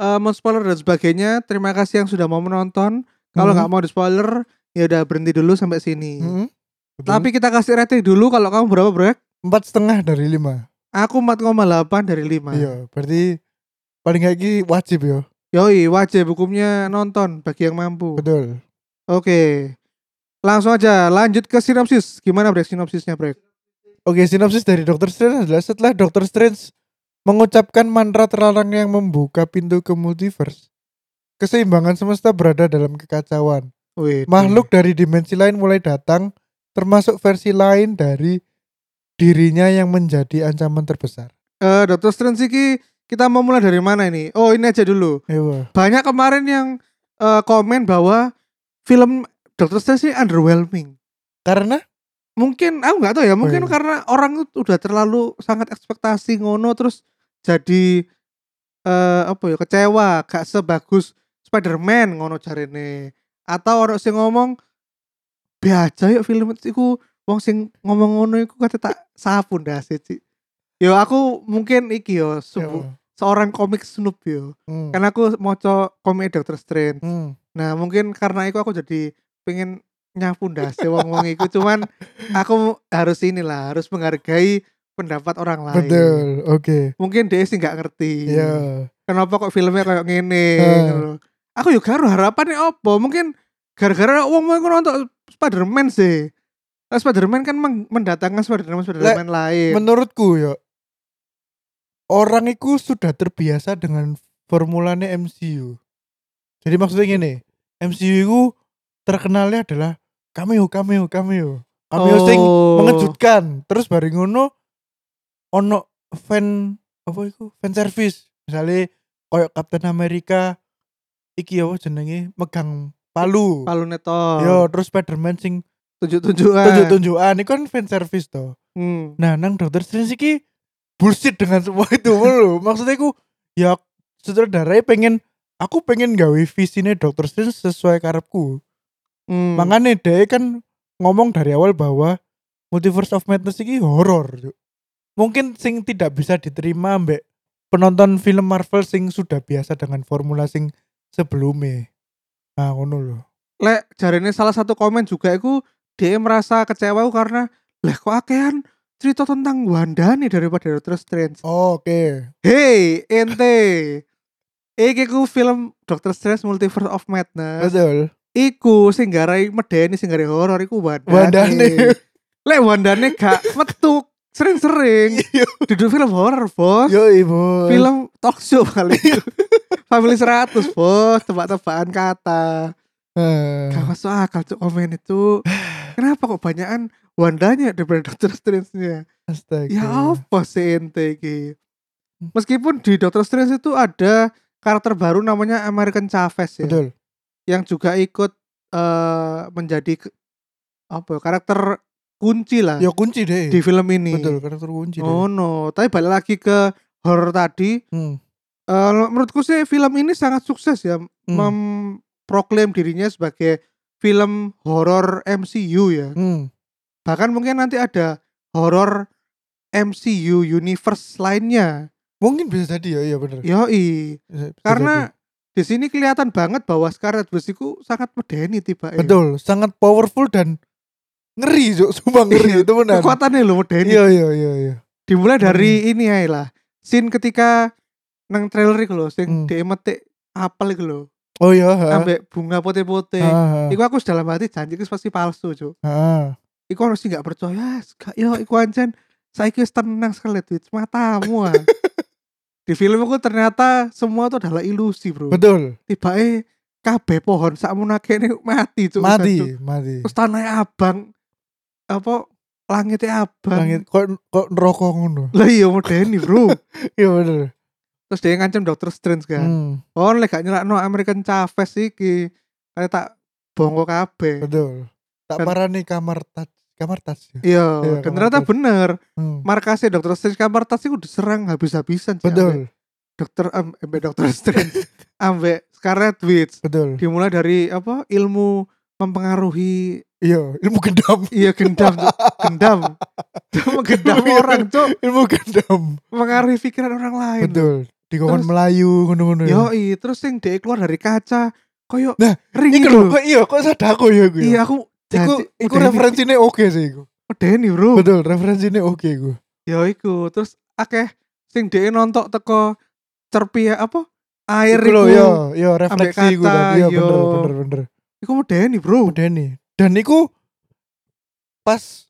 Speaker 1: eh men-spoiler dan sebagainya, terima kasih yang sudah mau menonton. Kalau
Speaker 2: Hmm.
Speaker 1: nggak mau di spoiler, ya udah berhenti dulu sampai sini.
Speaker 2: Hmm?
Speaker 1: Tapi kita kasih rating dulu kalau kamu berapa, Bro? ya?
Speaker 2: empat setengah dari lima.
Speaker 1: Aku 4,8 dari 5.
Speaker 2: Iya, berarti paling gak iki wajib ya.
Speaker 1: Yoi, wajib hukumnya nonton bagi yang mampu.
Speaker 2: Betul.
Speaker 1: Oke. Langsung aja lanjut ke sinopsis. Gimana Brek sinopsisnya Brek?
Speaker 2: Oke, sinopsis dari Dr. Strange adalah setelah Dr. Strange mengucapkan mantra terlarang yang membuka pintu ke multiverse, keseimbangan semesta berada dalam kekacauan.
Speaker 1: Wih,
Speaker 2: Makhluk dari dimensi lain mulai datang, termasuk versi lain dari dirinya yang menjadi ancaman terbesar.
Speaker 1: eh Dr. Strange iki kita mau mulai dari mana ini? Oh, ini aja dulu.
Speaker 2: Ewa.
Speaker 1: Banyak kemarin yang eh, komen bahwa film Dr. Strange ini underwhelming.
Speaker 2: Karena
Speaker 1: Mungkin aku nggak tahu ya, mungkin
Speaker 2: iya.
Speaker 1: karena orang itu udah terlalu sangat ekspektasi ngono terus jadi eh apa ya kecewa gak sebagus Spider-Man ngono jarene. Atau orang sing ngomong biasa yuk film iku wong sing ngomong ngono iku kate tak sapu ndas Ci." Yo aku mungkin iki yo subu-
Speaker 2: Ewa.
Speaker 1: seorang komik snoop yo.
Speaker 2: Hmm.
Speaker 1: Karena aku maca komik Doctor Strange.
Speaker 2: Hmm.
Speaker 1: Nah mungkin karena itu aku jadi pengen nyapu ndase wong-wong iku cuman aku harus inilah harus menghargai pendapat orang lain.
Speaker 2: Betul. Oke.
Speaker 1: Mungkin dia sih nggak ngerti.
Speaker 2: Ya.
Speaker 1: Kenapa kok filmnya kayak ngene?
Speaker 2: Eh.
Speaker 1: ngono lho. Aku juga karo harapannya opo? Mungkin gara-gara wong wong nonton Spider-Man sih. Nah, Spider-Man kan meng- mendatangkan Spider-Man Spider-Man lain.
Speaker 2: Menurutku ya orang itu sudah terbiasa dengan formulanya MCU. Jadi maksudnya gini, MCU itu terkenalnya adalah cameo, cameo, cameo. Cameo sing
Speaker 1: Oh.
Speaker 2: mengejutkan. Terus bari ngono ono fan apa itu? Fan service. Misalnya koyo Captain America iki apa jenenge megang palu.
Speaker 1: Palu neto.
Speaker 2: Yo, terus Spider-Man sing
Speaker 1: tunjuk-tunjukan.
Speaker 2: tunjuk-tunjukan itu kan fan service toh.
Speaker 1: Hmm.
Speaker 2: Nah, nang dokter Strange iki bullshit dengan semua itu lho. Maksudnya aku ya sutradaranya pengen aku pengen gawe visine dokter Strange sesuai karepku.
Speaker 1: Hmm.
Speaker 2: Makanya dia kan ngomong dari awal bahwa Multiverse of Madness iki horor. Cuk. Mungkin sing tidak bisa diterima mbek penonton film Marvel sing sudah biasa dengan formula sing sebelumnya. Nah, ngono lho.
Speaker 1: lek jarene salah satu komen juga iku dia merasa kecewa iku karena lah kok akehan cerita tentang Wanda nih daripada Doctor Strange.
Speaker 2: Oh, Oke.
Speaker 1: Hey, ente. Iki ku film Doctor Strange Multiverse of Madness.
Speaker 2: Betul.
Speaker 1: Iku sing garai medeni sing garai horor iku Wanda.
Speaker 2: Wandane.
Speaker 1: Lek Wandane gak metu sering-sering duduk film horor, Bos.
Speaker 2: Yo, Ibu.
Speaker 1: Film talk show kali itu. Family 100, Bos. Tebak-tebakan kata.
Speaker 2: Eh.
Speaker 1: Gak masuk akal tuh komen itu. Kenapa kok banyakan Wandanya daripada Doctor Strange-nya?
Speaker 2: Astaga.
Speaker 1: Ya apa sih ente iki?
Speaker 2: Hmm.
Speaker 1: Meskipun di Doctor Strange itu ada karakter baru namanya American Chavez ya,
Speaker 2: Betul.
Speaker 1: yang juga ikut eh, menjadi ke- apa ya, karakter kunci lah
Speaker 2: Ya kunci deh.
Speaker 1: di film ini.
Speaker 2: Betul, karakter kunci deh.
Speaker 1: Oh no, tapi balik lagi ke horor tadi.
Speaker 2: Hmm.
Speaker 1: Eh, menurutku sih film ini sangat sukses ya
Speaker 2: Hmm.
Speaker 1: memproklaim dirinya sebagai film horor MCU ya.
Speaker 2: Hmm.
Speaker 1: Bahkan mungkin nanti ada horor MCU universe lainnya.
Speaker 2: Mungkin bisa jadi ya, iya benar.
Speaker 1: Yoi. Karena di sini kelihatan banget bahwa Scarlet Witch itu sangat medeni tiba
Speaker 2: betul, sangat powerful dan ngeri, Cuk. Sumpah
Speaker 1: Iya,
Speaker 2: ngeri itu benar.
Speaker 1: Kekuatannya loh medeni.
Speaker 2: Iya, Hmm. iya, iya, iya.
Speaker 1: Dimulai dari ini ya lah. Scene ketika nang trailer iku lho sing
Speaker 2: Hmm.
Speaker 1: dia metik apel iku lho.
Speaker 2: Oh iya, ha.
Speaker 1: Ambek bunga putih-putih.
Speaker 2: Ha, ha,
Speaker 1: Iku aku dalam hati janji itu pasti palsu, Cuk.
Speaker 2: ha.
Speaker 1: Iku harus sih gak percaya, "Ah, gak yo iku anjen. Saiki wis tenang sekali duit matamu. ah." Di film aku ternyata semua itu adalah ilusi, Bro.
Speaker 2: Betul.
Speaker 1: Tiba eh kabeh pohon sakmu nakene mati, cuk. Satu.
Speaker 2: Mati, mati.
Speaker 1: Terus tanahnya abang apa langitnya abang.
Speaker 2: Langit kok kok neraka ngono.
Speaker 1: Lah iya modeni, Bro.
Speaker 2: Iya benar.
Speaker 1: Terus dia ngancam Dr. Strange kan.
Speaker 2: Hmm,
Speaker 1: Oh, lek gak nyelakno American Chavez iki. Kayak tak bongko kabeh. Iya.
Speaker 2: betul. Tak
Speaker 1: Dan-
Speaker 2: parah nih kamar touch. kamar tas ya. Iya,
Speaker 1: Iya, dan
Speaker 2: kamar
Speaker 1: ternyata
Speaker 2: tas.
Speaker 1: bener.
Speaker 2: Hmm.
Speaker 1: Markasnya Dr. Strange kamar tas itu diserang habis-habisan. sih, ambek
Speaker 2: Betul,
Speaker 1: Dokter em, ambek Dr. Strange ambek Scarlet Witch.
Speaker 2: betul.
Speaker 1: Dimulai dari apa? Ilmu mempengaruhi
Speaker 2: Iya, ilmu gendam,
Speaker 1: iya gendam, Cuk. gendam. Dia menggendam orang, Cuk.
Speaker 2: ilmu gendam.
Speaker 1: Mengaruhi pikiran orang lain.
Speaker 2: Betul. Di kawan
Speaker 1: Iya, Terus-
Speaker 2: Melayu ngono-ngono. ya.
Speaker 1: Yoi, terus yang dia keluar dari kaca koyo
Speaker 2: Nah,
Speaker 1: ring
Speaker 2: Iku
Speaker 1: itu.
Speaker 2: lho, kok iya, kok sadaku ya iku. ya?
Speaker 1: Iya, aku
Speaker 2: Iku
Speaker 1: janji-
Speaker 2: iku
Speaker 1: medeni-
Speaker 2: referensine oke sih iku.
Speaker 1: medeni, Bro.
Speaker 2: Betul, referensine oke iku.
Speaker 1: Ya iku, terus akeh sing dhek nontok teko cerpi apa? Air
Speaker 2: Iku lho, iya.
Speaker 1: iku.
Speaker 2: yo, yo refleksi iku
Speaker 1: kata,
Speaker 2: tadi. Iya,
Speaker 1: yo.
Speaker 2: bener, bener, bener.
Speaker 1: Iku medeni, Bro.
Speaker 2: Medeni. Dan iku pas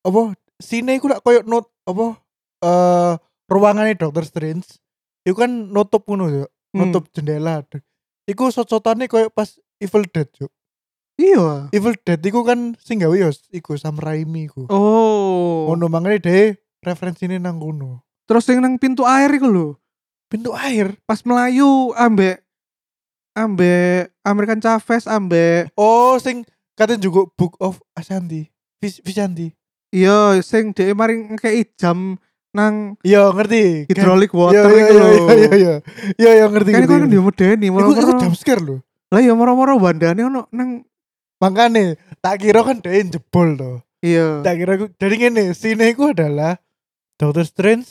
Speaker 2: apa sine iku lak koyo not apa eh ruangannya Dr. Strange. Iku kan nutup ngono yo, nutup jendela. Iku sot-sotane koyo pas Evil Dead yo.
Speaker 1: Iya.
Speaker 2: Evil Dead iku kan sing gawe yo iku Sam Raimi iku.
Speaker 1: Oh.
Speaker 2: Ngono mangane dhewe referensine nang kono.
Speaker 1: Terus sing nang pintu air iku lho.
Speaker 2: Pintu air.
Speaker 1: Pas Melayu ambek ambek American Chavez ambek
Speaker 2: Oh, sing katanya juga Book of Ashanti. Vis Vishanti.
Speaker 1: iya sing dhek maring ngekeki jam nang
Speaker 2: Iya, ngerti.
Speaker 1: hydraulic
Speaker 2: Iya,
Speaker 1: water iku
Speaker 2: iya, iya,
Speaker 1: lho.
Speaker 2: iya, iya, iya. Iya, iya, ngerti.
Speaker 1: Kan
Speaker 2: ngerti,
Speaker 1: iku kan
Speaker 2: ngerti.
Speaker 1: dia medeni
Speaker 2: Iku iku
Speaker 1: moro-moro.
Speaker 2: jump scare lho.
Speaker 1: Lah ya moro-moro bandane ono nang
Speaker 2: Makane tak kira kan dhewe jebol to.
Speaker 1: iya
Speaker 2: Tak kira aku jadi ngene, sine iku adalah Doctor Strange,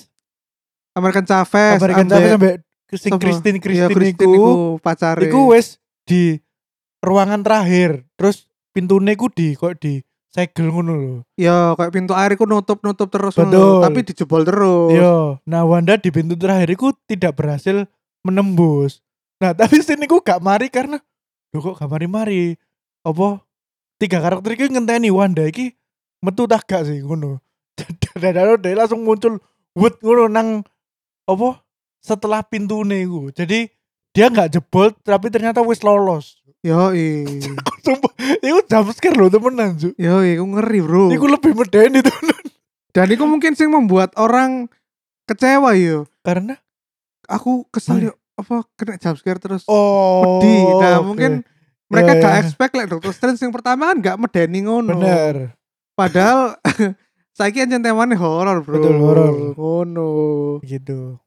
Speaker 1: American Chavez
Speaker 2: American
Speaker 1: ambek-
Speaker 2: Chavez sampai sing
Speaker 1: sama-
Speaker 2: Christine
Speaker 1: iya,
Speaker 2: Christine
Speaker 1: Christine
Speaker 2: iku.
Speaker 1: iku pacare.
Speaker 2: Iku wes di ruangan terakhir, terus pintune ku di kok di segel ngono lho.
Speaker 1: Ya kayak pintu air iku nutup-nutup terus ngono,
Speaker 2: Betul.
Speaker 1: tapi dijebol terus.
Speaker 2: Yo, nah Wanda di pintu terakhir iku tidak berhasil menembus. Nah, tapi sini ku gak mari karena lho kok gak mari-mari. Apa tiga karakter iki ngenteni Wanda iki metu tak gak sih ngono. Dadaro dia langsung muncul wut ngono nang apa setelah pintune iku. Jadi dia nggak jebol tapi ternyata wis lolos.
Speaker 1: Yoi.
Speaker 2: Sumpah, itu jump scare loh temenan Ju.
Speaker 1: Yoi, iku ngeri, Bro.
Speaker 2: Iku lebih medeni temenan.
Speaker 1: Dan iku mungkin sing membuat orang kecewa iya. yo.
Speaker 2: Karena
Speaker 1: Aku kesel
Speaker 2: Hmm.
Speaker 1: yo apa kena jump scare terus.
Speaker 2: oh,
Speaker 1: Di. Nah,
Speaker 2: oke.
Speaker 1: mungkin mereka
Speaker 2: Ya,
Speaker 1: gak
Speaker 2: ya.
Speaker 1: expect lek Dr. Strange yang pertama kan gak medeni ngono.
Speaker 2: bener.
Speaker 1: Padahal saiki anjen temane horor, Bro.
Speaker 2: Betul, horor.
Speaker 1: Ngono.
Speaker 2: gitu.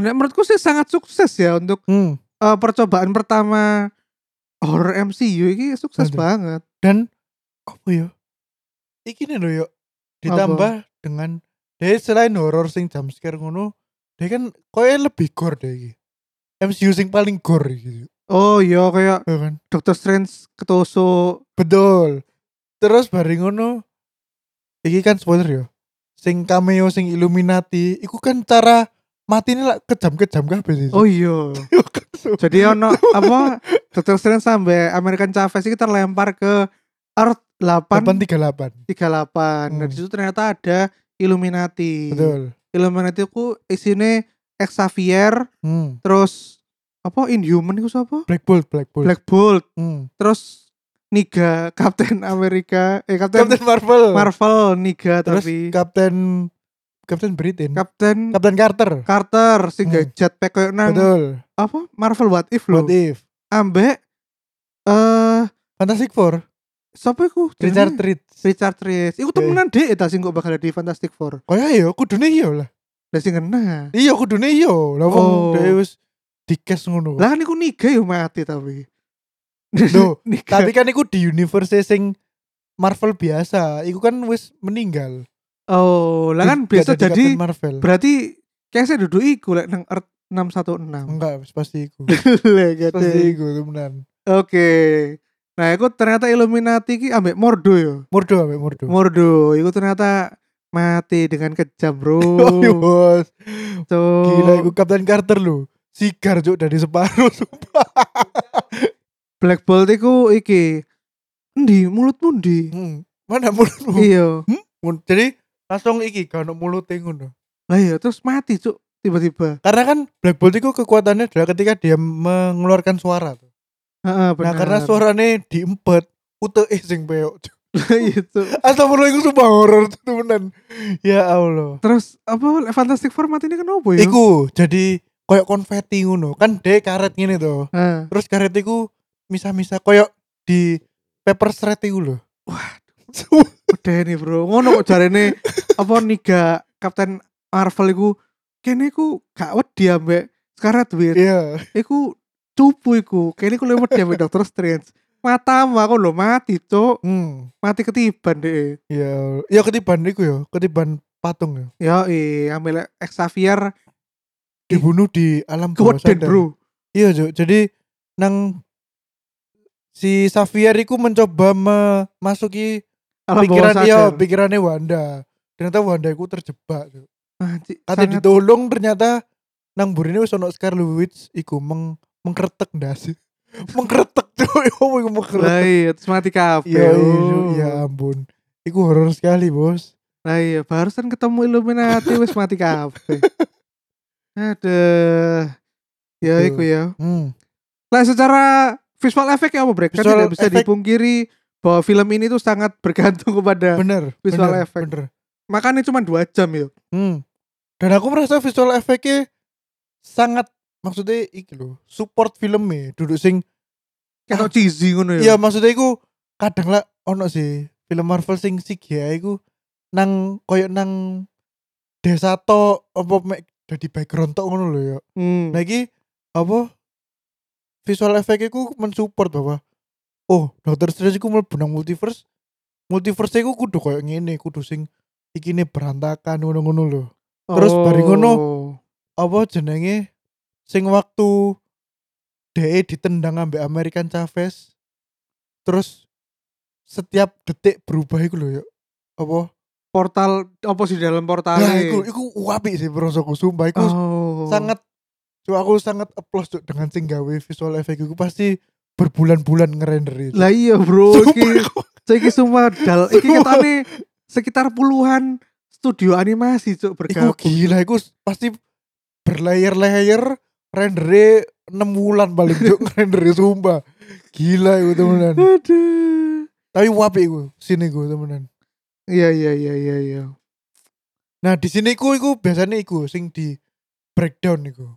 Speaker 1: Nek menurutku sih sangat sukses ya untuk
Speaker 2: Hmm.
Speaker 1: eh, percobaan pertama horror MCU ini sukses
Speaker 2: Waduh.
Speaker 1: banget.
Speaker 2: Dan apa ya? Iki nih loh yuk. Ditambah dengan dia selain horor sing jump scare ngono, dia kan koyo lebih gore deh iki. MCU sing paling gore gitu.
Speaker 1: Oh iya kayak
Speaker 2: Ya kan?
Speaker 1: Doctor Strange ketusuk.
Speaker 2: Betul. Terus bareng ngono iki kan spoiler ya. Sing cameo sing Illuminati, iku kan cara matine lah kejam-kejam kabeh sih.
Speaker 1: Oh iya. Jadi ono apa Doctor Strange sampai American Chavez ini terlempar ke Earth 838.
Speaker 2: 838.
Speaker 1: Nah,
Speaker 2: Hmm.
Speaker 1: di situ ternyata ada Illuminati.
Speaker 2: Betul.
Speaker 1: Illuminati ku isine Xavier,
Speaker 2: Hmm.
Speaker 1: terus apa Inhuman itu siapa?
Speaker 2: Black Bolt, Black Bolt.
Speaker 1: Black Bolt,
Speaker 2: Hmm.
Speaker 1: terus Niga, Captain America, eh Captain,
Speaker 2: Captain Marvel.
Speaker 1: Marvel Niga
Speaker 2: Terus
Speaker 1: tapi
Speaker 2: Kapten Kapten Britain.
Speaker 1: Kapten
Speaker 2: Kapten Carter.
Speaker 1: Carter sing
Speaker 2: Hmm.
Speaker 1: jetpack koyo nang
Speaker 2: Betul.
Speaker 1: apa Marvel What If lho.
Speaker 2: What if?
Speaker 1: Ambek eh
Speaker 2: Fantastic Four.
Speaker 1: sapa iku?
Speaker 2: Richard Iya.
Speaker 1: jenenge?
Speaker 2: Reed.
Speaker 1: Richard Reed. Iku temenan dhek ta sing kok bakal di Fantastic Four.
Speaker 2: Kaya iya kudune iya lah.
Speaker 1: Lah sing kena.
Speaker 2: Iya kudune iya. Lah
Speaker 1: Oh.
Speaker 2: wong dhewe wis dikes ngono.
Speaker 1: Lah kan iku Niga yo mati tapi.
Speaker 2: Loh,
Speaker 1: Niga.
Speaker 2: Tapi kan iku di universe sing Marvel biasa, iku kan wis meninggal.
Speaker 1: oh, lah kan
Speaker 2: Di-
Speaker 1: biasa
Speaker 2: gak
Speaker 1: jadi
Speaker 2: Captain Marvel.
Speaker 1: berarti kese duduk iku lek nang Earth 616.
Speaker 2: Enggak, wis pasti iku.
Speaker 1: Lah
Speaker 2: Wis pasti
Speaker 1: gitu.
Speaker 2: iku temenan.
Speaker 1: Oke. Nah, iku ternyata Illuminati ki ambek Mordo yo.
Speaker 2: Murdo abe murdo.
Speaker 1: Mordo, itu ternyata mati dengan kejam bro.
Speaker 2: Oh, iya, bos.
Speaker 1: Cuk.
Speaker 2: Gila iku Kapten Carter lho. Sigar cuk dari separuh sumpah.
Speaker 1: Black Bolt itu iki. Endi mulutmu endi?
Speaker 2: Hmm, Mana mulutmu?
Speaker 1: Iya.
Speaker 2: Mun- jadi langsung iki gak ono mulute ngono.
Speaker 1: Lah iya terus mati cuk tiba-tiba.
Speaker 2: Karena kan Black Bolt itu kekuatannya adalah ketika dia mengeluarkan suara. tuh.
Speaker 1: Heeh,
Speaker 2: Nah, karena suarane diempet, uteke eh, sing peok.
Speaker 1: itu.
Speaker 2: Astagfirullah iku sumpah horor tuh, temenan. Ya Allah.
Speaker 1: Terus apa Fantastic Four mati ini kenapa ya?
Speaker 2: Iku jadi koyok konfeti ngono. Kan dia karet ngene tuh.
Speaker 1: Heeh.
Speaker 2: Terus karet iku misah-misah koyok di paper shred iku lho.
Speaker 1: Udah nih bro, ngono kok jarene apa niga Kapten Marvel iku kene iku gak wedi ambek Scarlet Witch.
Speaker 2: Iya.
Speaker 1: Iku cupu iku. Kene iku lewat ambek Doctor Strange. Matamu aku lho mati, Cuk.
Speaker 2: Hmm.
Speaker 1: Mati ketiban deh.
Speaker 2: Ya, ya ketiban iku ya, ketiban patung ya.
Speaker 1: Ya, eh ambil Xavier
Speaker 2: Dibunuh di alam
Speaker 1: Gordon,
Speaker 2: bawah sadar.
Speaker 1: Bro.
Speaker 2: Iya, Cuk. Jadi nang si Xavier iku mencoba memasuki
Speaker 1: Alam bawah
Speaker 2: pikiran
Speaker 1: sadar.
Speaker 2: iya, pikirannya Wanda. Ternyata Wanda iku terjebak, Cuk.
Speaker 1: Ah, cik,
Speaker 2: Kata
Speaker 1: sangat-
Speaker 2: ditolong ternyata nang burine wis ono Scarlet Witch iku meng mengkretek ndas. mengkretek Cuk. Ya Allah, iku mengkretek.
Speaker 1: Lah iya, terus mati kabeh.
Speaker 2: Ya,
Speaker 1: Oh.
Speaker 2: iya, ya ampun. Iku horor sekali, Bos.
Speaker 1: Lah iya, barusan ketemu Illuminati wis mati kabeh. Aduh. Ya
Speaker 2: Betul.
Speaker 1: iku ya.
Speaker 2: Hmm.
Speaker 1: Lah secara visual effect ya apa Brek? Kan
Speaker 2: Visual
Speaker 1: tidak bisa
Speaker 2: effect.
Speaker 1: dipungkiri bahwa film ini tuh sangat bergantung kepada
Speaker 2: Bener,
Speaker 1: Visual
Speaker 2: bener,
Speaker 1: effect.
Speaker 2: Bener.
Speaker 1: makanya cuma dua jam ya.
Speaker 2: Hmm. Dan aku merasa visual efeknya sangat maksudnya iki lho, support filmnya duduk sing
Speaker 1: Kayak ah. cheesy ngono ya.
Speaker 2: Iya, maksudnya iku kadang lah ono sih film Marvel sing CGI iku nang koyo nang desa to apa mek dadi background tok ngono lho ya.
Speaker 1: Hmm.
Speaker 2: Nah iki apa visual effect iku mensupport bahwa oh, Doctor Strange iku mlebu nang multiverse. Multiverse iku kudu koyo ngene, kudu sing ikine berantakan ngono-ngono lho. terus
Speaker 1: Oh.
Speaker 2: bari ngono. apa jenenge sing waktu DE ditendang ambek American Chavez terus setiap detik berubah iku lho ya apa
Speaker 1: portal apa sih dalam portal
Speaker 2: nah, iku iku apik sih prosoku sumpah iku
Speaker 1: oh.
Speaker 2: sangat Cuk, aku sangat applause Cuk, dengan sing gawe visual effect iku pasti berbulan-bulan ngerender itu.
Speaker 1: lah iya bro
Speaker 2: Sumpah,
Speaker 1: iki
Speaker 2: aku-
Speaker 1: cuk, iki semua dal iki
Speaker 2: Sumpah.
Speaker 1: ketane sekitar puluhan studio animasi cuk
Speaker 2: iku
Speaker 1: bergabung
Speaker 2: gila iku pasti berlayer-layer rendernya 6 wulan paling cuk rendernya sumpah gila iku temenan
Speaker 1: aduh
Speaker 2: tapi wapi iku sini iku temenan
Speaker 1: iya iya iya iya iya
Speaker 2: Nah di sini iku iku biasanya iku sing di breakdown iku.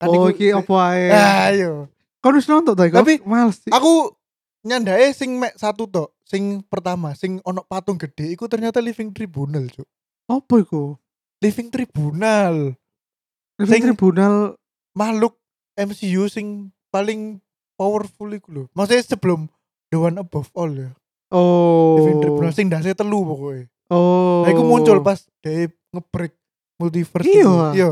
Speaker 2: Kan
Speaker 1: oh
Speaker 2: iku-
Speaker 1: iki apa ae
Speaker 2: Ah, Ayo.
Speaker 1: Kau harus nonton tadi
Speaker 2: Tapi-
Speaker 1: males sih.
Speaker 2: Aku nyandae sing mek satu tok, sing pertama sing ono patung gede iku ternyata Living Tribunal, Cuk.
Speaker 1: apa iku?
Speaker 2: Living Tribunal.
Speaker 1: Living
Speaker 2: Sing-
Speaker 1: Tribunal
Speaker 2: Makhluk MCU sing paling powerful iku lho. Maksudnya sebelum The One Above All ya.
Speaker 1: oh
Speaker 2: Living Tribunal sing ndase telu pokoknya.
Speaker 1: oh
Speaker 2: Nah iku muncul pas dhewe ngebreak multiverse.
Speaker 1: Iya.
Speaker 2: iku. Iya.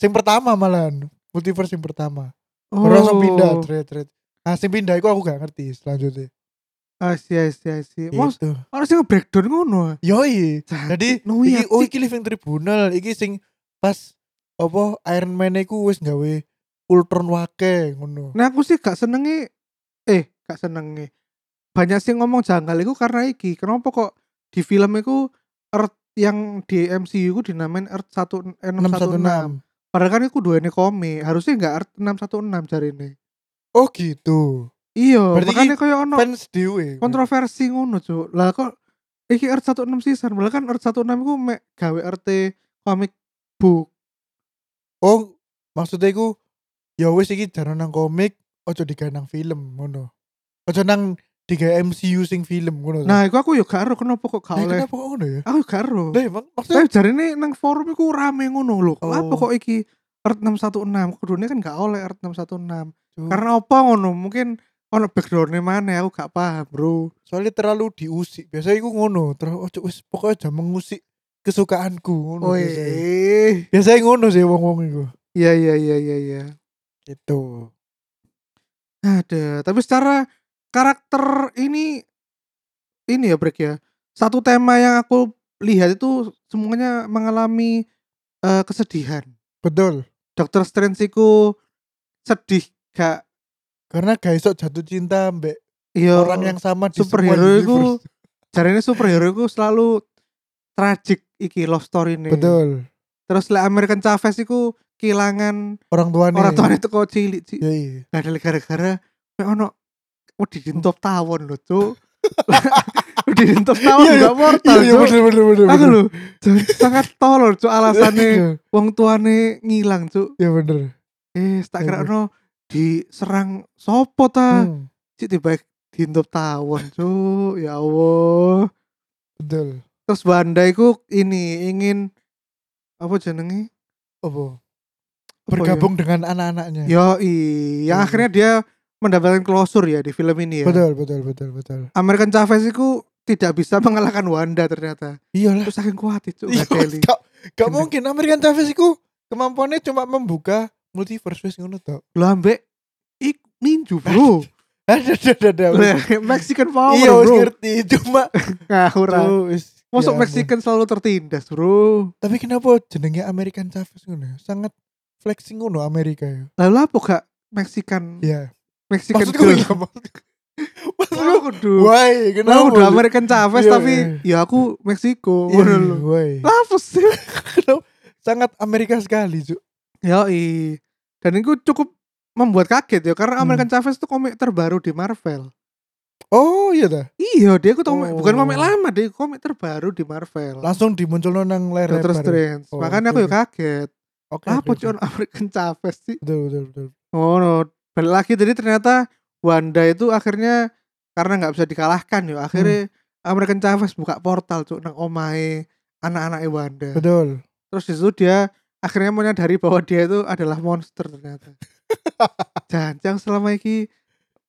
Speaker 2: Sing pertama malahan, multiverse yang pertama.
Speaker 1: oh.
Speaker 2: Baru langsung pindah trade trade. Nah, sing pindah iku aku gak ngerti selanjutnya.
Speaker 1: asyik asyik asyik mas
Speaker 2: Gitu.
Speaker 1: harus yang breakdown ngono
Speaker 2: Yoi.
Speaker 1: Cantik,
Speaker 2: Jadi
Speaker 1: no
Speaker 2: iki
Speaker 1: ya,
Speaker 2: oh
Speaker 1: cik.
Speaker 2: iki living tribunal, iki sing pas apa Iron Man iku wis gawe Ultron wake ngono.
Speaker 1: nah aku sih gak senengi eh gak senengi banyak sih ngomong janggal itu karena iki kenapa kok di film itu Earth yang di MCU itu dinamain Earth 1 eh, 616
Speaker 2: 616.
Speaker 1: padahal kan itu dua ini komik harusnya gak Earth 616 jari ini
Speaker 2: Oh gitu.
Speaker 1: iya
Speaker 2: Berarti
Speaker 1: makanya kayak ono
Speaker 2: Fans dhewe.
Speaker 1: Gitu. kontroversi ngono cuy lah kok iki Earth 16 season padahal kan Earth 16 itu mek gawe RT komik book
Speaker 2: Oh, maksudnya iku ya wis iki jarang nang komik, ojo digawe nang film ngono. Ojo nang digawe MCU sing film ngono.
Speaker 1: nah itu aku juga karo kenapa kok gak
Speaker 2: Lah,
Speaker 1: oleh Eh,
Speaker 2: kenapa kok ngono ya?
Speaker 1: aku gak karo
Speaker 2: Lah, emang maksudnya
Speaker 1: Tapi jari ini nang forum iku rame ngono lho.
Speaker 2: Oh.
Speaker 1: Apa kok iki Earth 616 kudune kan gak oleh Earth 616.
Speaker 2: Cuk.
Speaker 1: Karena apa ngono? Mungkin ono background-e maneh aku gak paham, Bro.
Speaker 2: soalnya terlalu diusik biasanya aku ngono terlalu ojo wis pokoknya aja mengusik kesukaanku ngono biasanya.
Speaker 1: Oi.
Speaker 2: biasanya ngono sih wong wong itu
Speaker 1: Iya iya iya iya iya.
Speaker 2: gitu
Speaker 1: Ada, tapi secara karakter ini ini ya break ya. Satu tema yang aku lihat itu semuanya mengalami eh, kesedihan.
Speaker 2: betul
Speaker 1: Dokter Strange iku sedih gak
Speaker 2: karena gak iso jatuh cinta mbek
Speaker 1: Iya.
Speaker 2: orang yang sama di
Speaker 1: superhero iku
Speaker 2: semua
Speaker 1: Iya.
Speaker 2: universe.
Speaker 1: jarene superhero iku selalu tragic iki love story ini.
Speaker 2: betul
Speaker 1: Terus lek American Chavez iku kehilangan
Speaker 2: orang tuane
Speaker 1: orang tuane teko cilik sih.
Speaker 2: ya iya
Speaker 1: Gara gara-gara mek ono wedi
Speaker 2: Hmm.
Speaker 1: dintop tawon lho, Cuk. Wedi dintop tawon
Speaker 2: Iya,
Speaker 1: juga mortal,
Speaker 2: iya
Speaker 1: Cuk.
Speaker 2: bener bener bener
Speaker 1: Aku
Speaker 2: bener.
Speaker 1: lho, jan- sangat tolol Cuk alasane
Speaker 2: Iya,
Speaker 1: wong tuane ngilang, Cuk.
Speaker 2: iya bener
Speaker 1: Eh, tak
Speaker 2: Iya,
Speaker 1: kira ono diserang sopo ta?
Speaker 2: Hmm.
Speaker 1: Cik tiba dintop tawon, Cuk. Ya Allah.
Speaker 2: Betul.
Speaker 1: terus Banda iku ini ingin apa jenenge
Speaker 2: Apa? ya?
Speaker 1: Apa ya?
Speaker 2: Bergabung dengan anak-anaknya.
Speaker 1: yo i yang
Speaker 2: Hmm.
Speaker 1: akhirnya dia mendapatkan klosur ya di film ini ya
Speaker 2: Betul, betul, betul, betul.
Speaker 1: American Chavez itu tidak bisa mengalahkan Wanda ternyata
Speaker 2: Iyalah.
Speaker 1: terus saking kuat itu
Speaker 2: Iya,
Speaker 1: nggak teli.
Speaker 2: gak, gak mungkin American Chavez iku kemampuannya cuma membuka multiverse wis ngono tok.
Speaker 1: Lah, ambek ik minju bro
Speaker 2: Ada ada ada.
Speaker 1: Lah, Mexican power
Speaker 2: Iya, wis
Speaker 1: bro
Speaker 2: ngerti. Cuma
Speaker 1: ngawur ah.
Speaker 2: tuh wis.
Speaker 1: Masuk
Speaker 2: ya ampun.
Speaker 1: Mexican selalu tertindas bro
Speaker 2: Tapi kenapa jenenge American Chavez ngono? ya? Sangat flexing ngono Amerika ya.
Speaker 1: lalu apa gak Mexican
Speaker 2: Iya.
Speaker 1: Mexican
Speaker 2: Maksudku
Speaker 1: girl?
Speaker 2: iya, maksudku. Maksudku
Speaker 1: Aku duh.
Speaker 2: Why? Kenapa?
Speaker 1: Lah udah American Chavez
Speaker 2: Iya,
Speaker 1: tapi ya aku Meksiko
Speaker 2: Iya,
Speaker 1: ngono lho.
Speaker 2: why?
Speaker 1: Lah, Apa sih?
Speaker 2: Sangat Amerika sekali, Cuk.
Speaker 1: Ya i. Dan itu cukup membuat kaget ya karena
Speaker 2: Hmm.
Speaker 1: American Chavez itu komik terbaru di Marvel.
Speaker 2: Oh, iya dah.
Speaker 1: Iya, dia itu komik
Speaker 2: Oh.
Speaker 1: bukan komik lama, dia komik terbaru di Marvel.
Speaker 2: Langsung dimunculno nang layar
Speaker 1: Doctor
Speaker 2: lebar.
Speaker 1: Strange.
Speaker 2: Oh,
Speaker 1: Makanya aku
Speaker 2: oke,
Speaker 1: ya kaget.
Speaker 2: Oke.
Speaker 1: Apa
Speaker 2: oke, oke.
Speaker 1: cuman American Chavez sih?
Speaker 2: Betul, betul, betul.
Speaker 1: Oh, no. balik lagi jadi ternyata Wanda itu akhirnya karena nggak bisa dikalahkan ya akhirnya
Speaker 2: Hmm.
Speaker 1: American Chavez buka portal cuk nang omahe anak-anaknya Wanda.
Speaker 2: Betul.
Speaker 1: Terus di situ dia akhirnya menyadari bahwa dia itu adalah monster ternyata. Janjang selama ini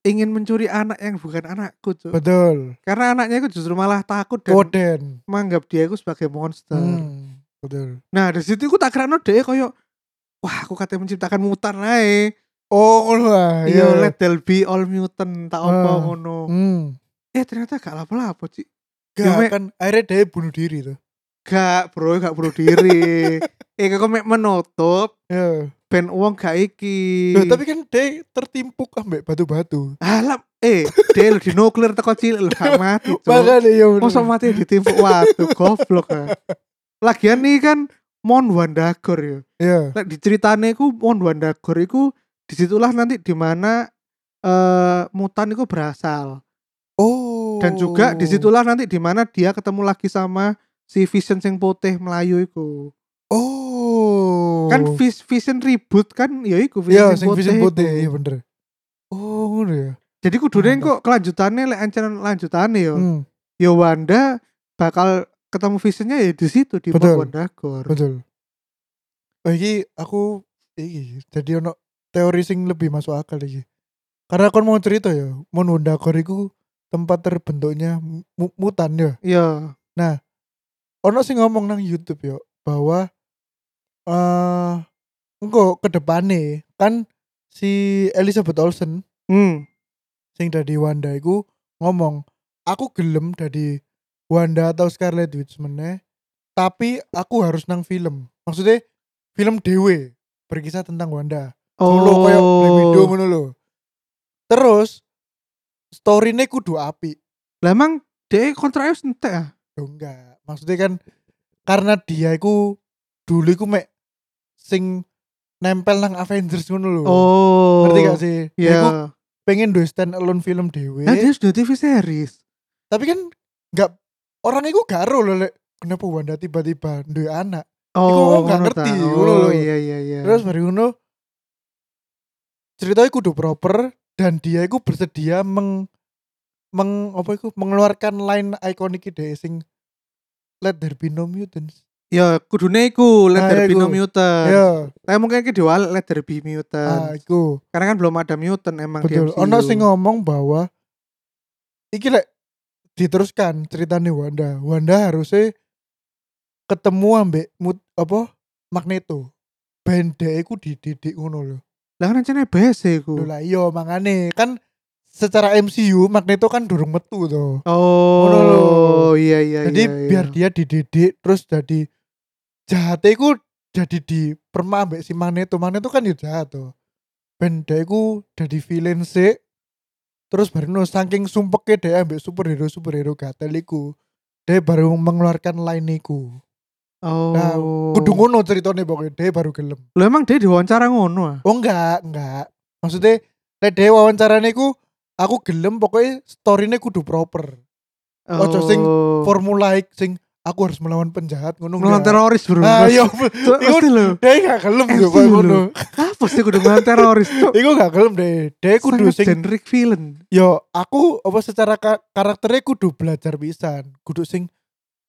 Speaker 1: ingin mencuri anak yang bukan anakku tuh.
Speaker 2: Betul.
Speaker 1: Karena anaknya itu justru malah takut dan
Speaker 2: Koden.
Speaker 1: menganggap dia itu sebagai monster.
Speaker 2: Hmm. Betul.
Speaker 1: Nah di situ aku tak kira deh koyo wah aku katanya menciptakan mutan ae.
Speaker 2: Oh, ngono lah.
Speaker 1: Yo let there be all mutant tak apa
Speaker 2: Ah.
Speaker 1: ngono.
Speaker 2: Hmm.
Speaker 1: Eh ternyata gak lapo-lapo Ci.
Speaker 2: Gak
Speaker 1: Yo, Mek.
Speaker 2: kan akhirnya dia bunuh diri tuh.
Speaker 1: Gak bro gak bunuh diri. eh kok mek menutup
Speaker 2: Ya.
Speaker 1: ben uang gak iki.
Speaker 2: Loh, tapi kan dia tertimpuk ambek batu-batu.
Speaker 1: Alam, eh, dia lu di nuklir teko cilik lu gak mati, Iya, cok. Oh,
Speaker 2: Makanya ya. bener.
Speaker 1: Masa mati ditimpuk waduh goblok ah. Lagian nih kan Mon Wandagor ya.
Speaker 2: Ya.
Speaker 1: Lek diceritane iku Mon Wandagor iku disitulah nanti di mana eh mutan itu berasal
Speaker 2: Oh.
Speaker 1: dan juga disitulah nanti di mana dia ketemu lagi sama si Vision sing putih Melayu iku.
Speaker 2: Oh.
Speaker 1: Kan Vis- Vision ribut kan ya iku Vision Iya.
Speaker 2: Iya, sing
Speaker 1: sing putih.
Speaker 2: vision putih,
Speaker 1: iku.
Speaker 2: iya bener. Oh, ngono ya.
Speaker 1: Jadi kudune kok kelanjutannya lek ancaman lanjutane ya.
Speaker 2: Hmm,
Speaker 1: ya Wanda bakal ketemu visionnya ya di situ di
Speaker 2: Betul.
Speaker 1: Wandagor.
Speaker 2: betul. Oh, iki aku iki jadi ono teori sing lebih masuk akal iki. Karena kon mau cerita ya, Mon Wondakor iku tempat terbentuknya mu- mutan ya.
Speaker 1: Iya,
Speaker 2: Ono sing ngomong nang YouTube ya bahwa eh engko ke depane kan si Elizabeth Olsen
Speaker 1: hmm,
Speaker 2: sing dari Wanda iku ngomong aku gelem dari Wanda atau Scarlet Witch meneh tapi aku harus nang film maksudnya film dewe berkisah tentang Wanda solo koyo Black Widow
Speaker 1: Oh,
Speaker 2: ngono lho terus storynya kudu api
Speaker 1: lah emang dia kontraknya wis entek ah.
Speaker 2: Loh, enggak maksudnya kan karena dia iku dulu iku mek sing nempel nang Avengers ngono lho
Speaker 1: Oh,
Speaker 2: ngerti gak sih Dia iku
Speaker 1: Iya.
Speaker 2: pengen do stand alone film dewe
Speaker 1: Nah, dia sudah TV series.
Speaker 2: tapi kan nggak orang itu garo loh Lek. kenapa Wanda tiba-tiba duwe anak
Speaker 1: Oh,
Speaker 2: aku nggak
Speaker 1: ngono
Speaker 2: ngerti,
Speaker 1: ta.
Speaker 2: ngono
Speaker 1: Oh,
Speaker 2: lho.
Speaker 1: iya iya iya.
Speaker 2: terus mari ngono ceritanya kudu proper dan dia itu bersedia meng meng apa iku mengeluarkan line ikonik ide sing let there be no mutants
Speaker 1: ya kudune iku let
Speaker 2: Nah,
Speaker 1: there be
Speaker 2: iku.
Speaker 1: no mutant.
Speaker 2: ya
Speaker 1: Tapi mungkin iki diwal let there be
Speaker 2: ah,
Speaker 1: mutant.
Speaker 2: iku
Speaker 1: Karena kan belum ada mutant emang di
Speaker 2: betul
Speaker 1: MCU.
Speaker 2: ono sing ngomong bahwa iki lek diteruskan ceritanya Wanda Wanda harusnya ketemu ambek mut apa Magneto ben dhek iku dididik ngono lho
Speaker 1: Lah kan rencana BC iku.
Speaker 2: Lho lah iya mangane kan secara MCU Magneto kan durung metu to Ngono lho.
Speaker 1: Oh, iya iya
Speaker 2: jadi
Speaker 1: iya, iya.
Speaker 2: biar dia dididik terus jadi jahatnya iku jadi di perma ambek si Magneto Magneto kan ya jahat to ben dhek iku jadi villain sik terus baru no saking sumpeke dhek ambek superhero superhero gatel iku dhek baru mengeluarkan line iku
Speaker 1: Oh.
Speaker 2: Nah, kudu ngono ceritane pokoknya dhek baru gelem
Speaker 1: Lah emang dia diwawancara ngono ah.
Speaker 2: Oh enggak, enggak. Maksudnya lek dhewe wawancarane iku aku gelem pokoknya storynya kudu proper. Ojo sing Formula ik sing aku harus melawan penjahat ngono.
Speaker 1: Oh. melawan
Speaker 2: enggak.
Speaker 1: teroris bro.
Speaker 2: Ah iya,
Speaker 1: Cuk,
Speaker 2: iku-
Speaker 1: mesti lho.
Speaker 2: dhewe gak gelem
Speaker 1: MC
Speaker 2: yo koyo ngono.
Speaker 1: Apa sih kudu melawan teroris cuk?
Speaker 2: Iku gak gelem deh. Dhewe Iya, kudu
Speaker 1: Sangat
Speaker 2: sing
Speaker 1: generic villain.
Speaker 2: yo aku apa secara ka karakternya kudu belajar pisan. Kudu sing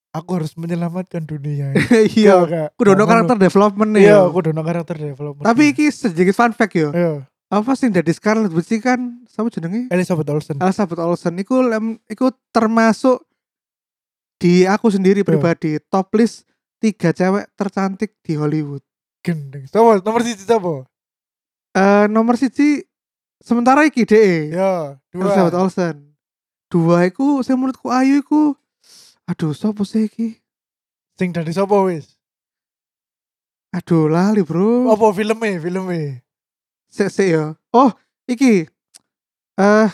Speaker 2: aku harus menyelamatkan dunia ini.
Speaker 1: iya
Speaker 2: Kak.
Speaker 1: kudu ono karakter development nih
Speaker 2: Nah, iya
Speaker 1: yo.
Speaker 2: aku dono karakter development
Speaker 1: tapi iki sedikit fun fact yo
Speaker 2: iya
Speaker 1: apa sih dari Scarlet Witch iki kan sama jenenge
Speaker 2: Elizabeth Olsen
Speaker 1: Elizabeth Olsen iku lem- iku termasuk di aku sendiri pribadi top list tiga cewek tercantik di Hollywood
Speaker 2: gendeng sama nomor siji sapa
Speaker 1: Eh nomor siji sementara iki DE
Speaker 2: iya dua
Speaker 1: Elizabeth Olsen dua iku saya menurutku Ayu iku aduh sopo sih iki
Speaker 2: sing dari sapa wis
Speaker 1: aduh lali bro
Speaker 2: apa filmnya filmnya
Speaker 1: sik sik ya oh iki eh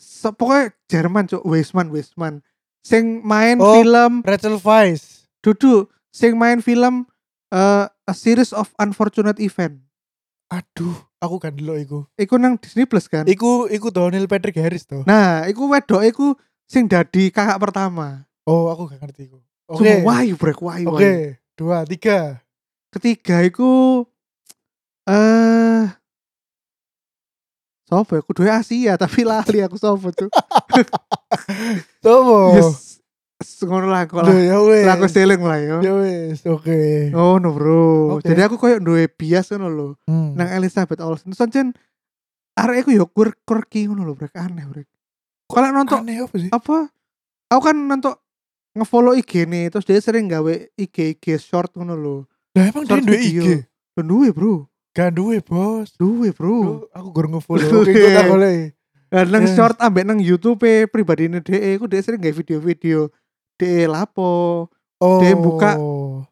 Speaker 1: se- pokoknya Jerman cok Weisman Weisman sing main
Speaker 2: Oh.
Speaker 1: film
Speaker 2: Rachel Weisz
Speaker 1: Dudu sing main film eh A Series of Unfortunate Event
Speaker 2: aduh aku kan dulu iku
Speaker 1: iku nang Disney Plus kan
Speaker 2: iku iku toh Neil Patrick Harris toh
Speaker 1: nah iku wedok iku sing dadi kakak pertama
Speaker 2: oh aku gak ngerti iku oke
Speaker 1: Sumpah, wayu brek wayu
Speaker 2: oke
Speaker 1: wayu.
Speaker 2: dua tiga
Speaker 1: ketiga iku eh Sopo ya, kudu Asia tapi lali aku sopo tuh.
Speaker 2: sapa
Speaker 1: Yes. Ngono lah kok
Speaker 2: Duh,
Speaker 1: lah.
Speaker 2: ya wes
Speaker 1: Lah aku seling lah yo.
Speaker 2: ya wes oke
Speaker 1: Oh no bro.
Speaker 2: Oke.
Speaker 1: Jadi aku koyo duwe bias ngono lho.
Speaker 2: Hmm.
Speaker 1: Nang Elizabeth Olsen soncen arek iku yo kur quirky ngono lho brek aneh brek. Kalau nonton
Speaker 2: aneh apa sih
Speaker 1: apa? Aku kan nonton ngefollow IG nih terus dia sering gawe IG IG short ngono lho.
Speaker 2: lah emang
Speaker 1: Short
Speaker 2: dia duwe IG
Speaker 1: video. Dan Duwe bro,
Speaker 2: gak duwe bos
Speaker 1: duwe bro.
Speaker 2: Duh, aku gurung ngefollow oke gue tak boleh
Speaker 1: Nah, nang
Speaker 2: Eh.
Speaker 1: short ambek nang YouTube e, pribadine DE ku DE sering gawe video-video DE lapo,
Speaker 2: oh
Speaker 1: Dia buka.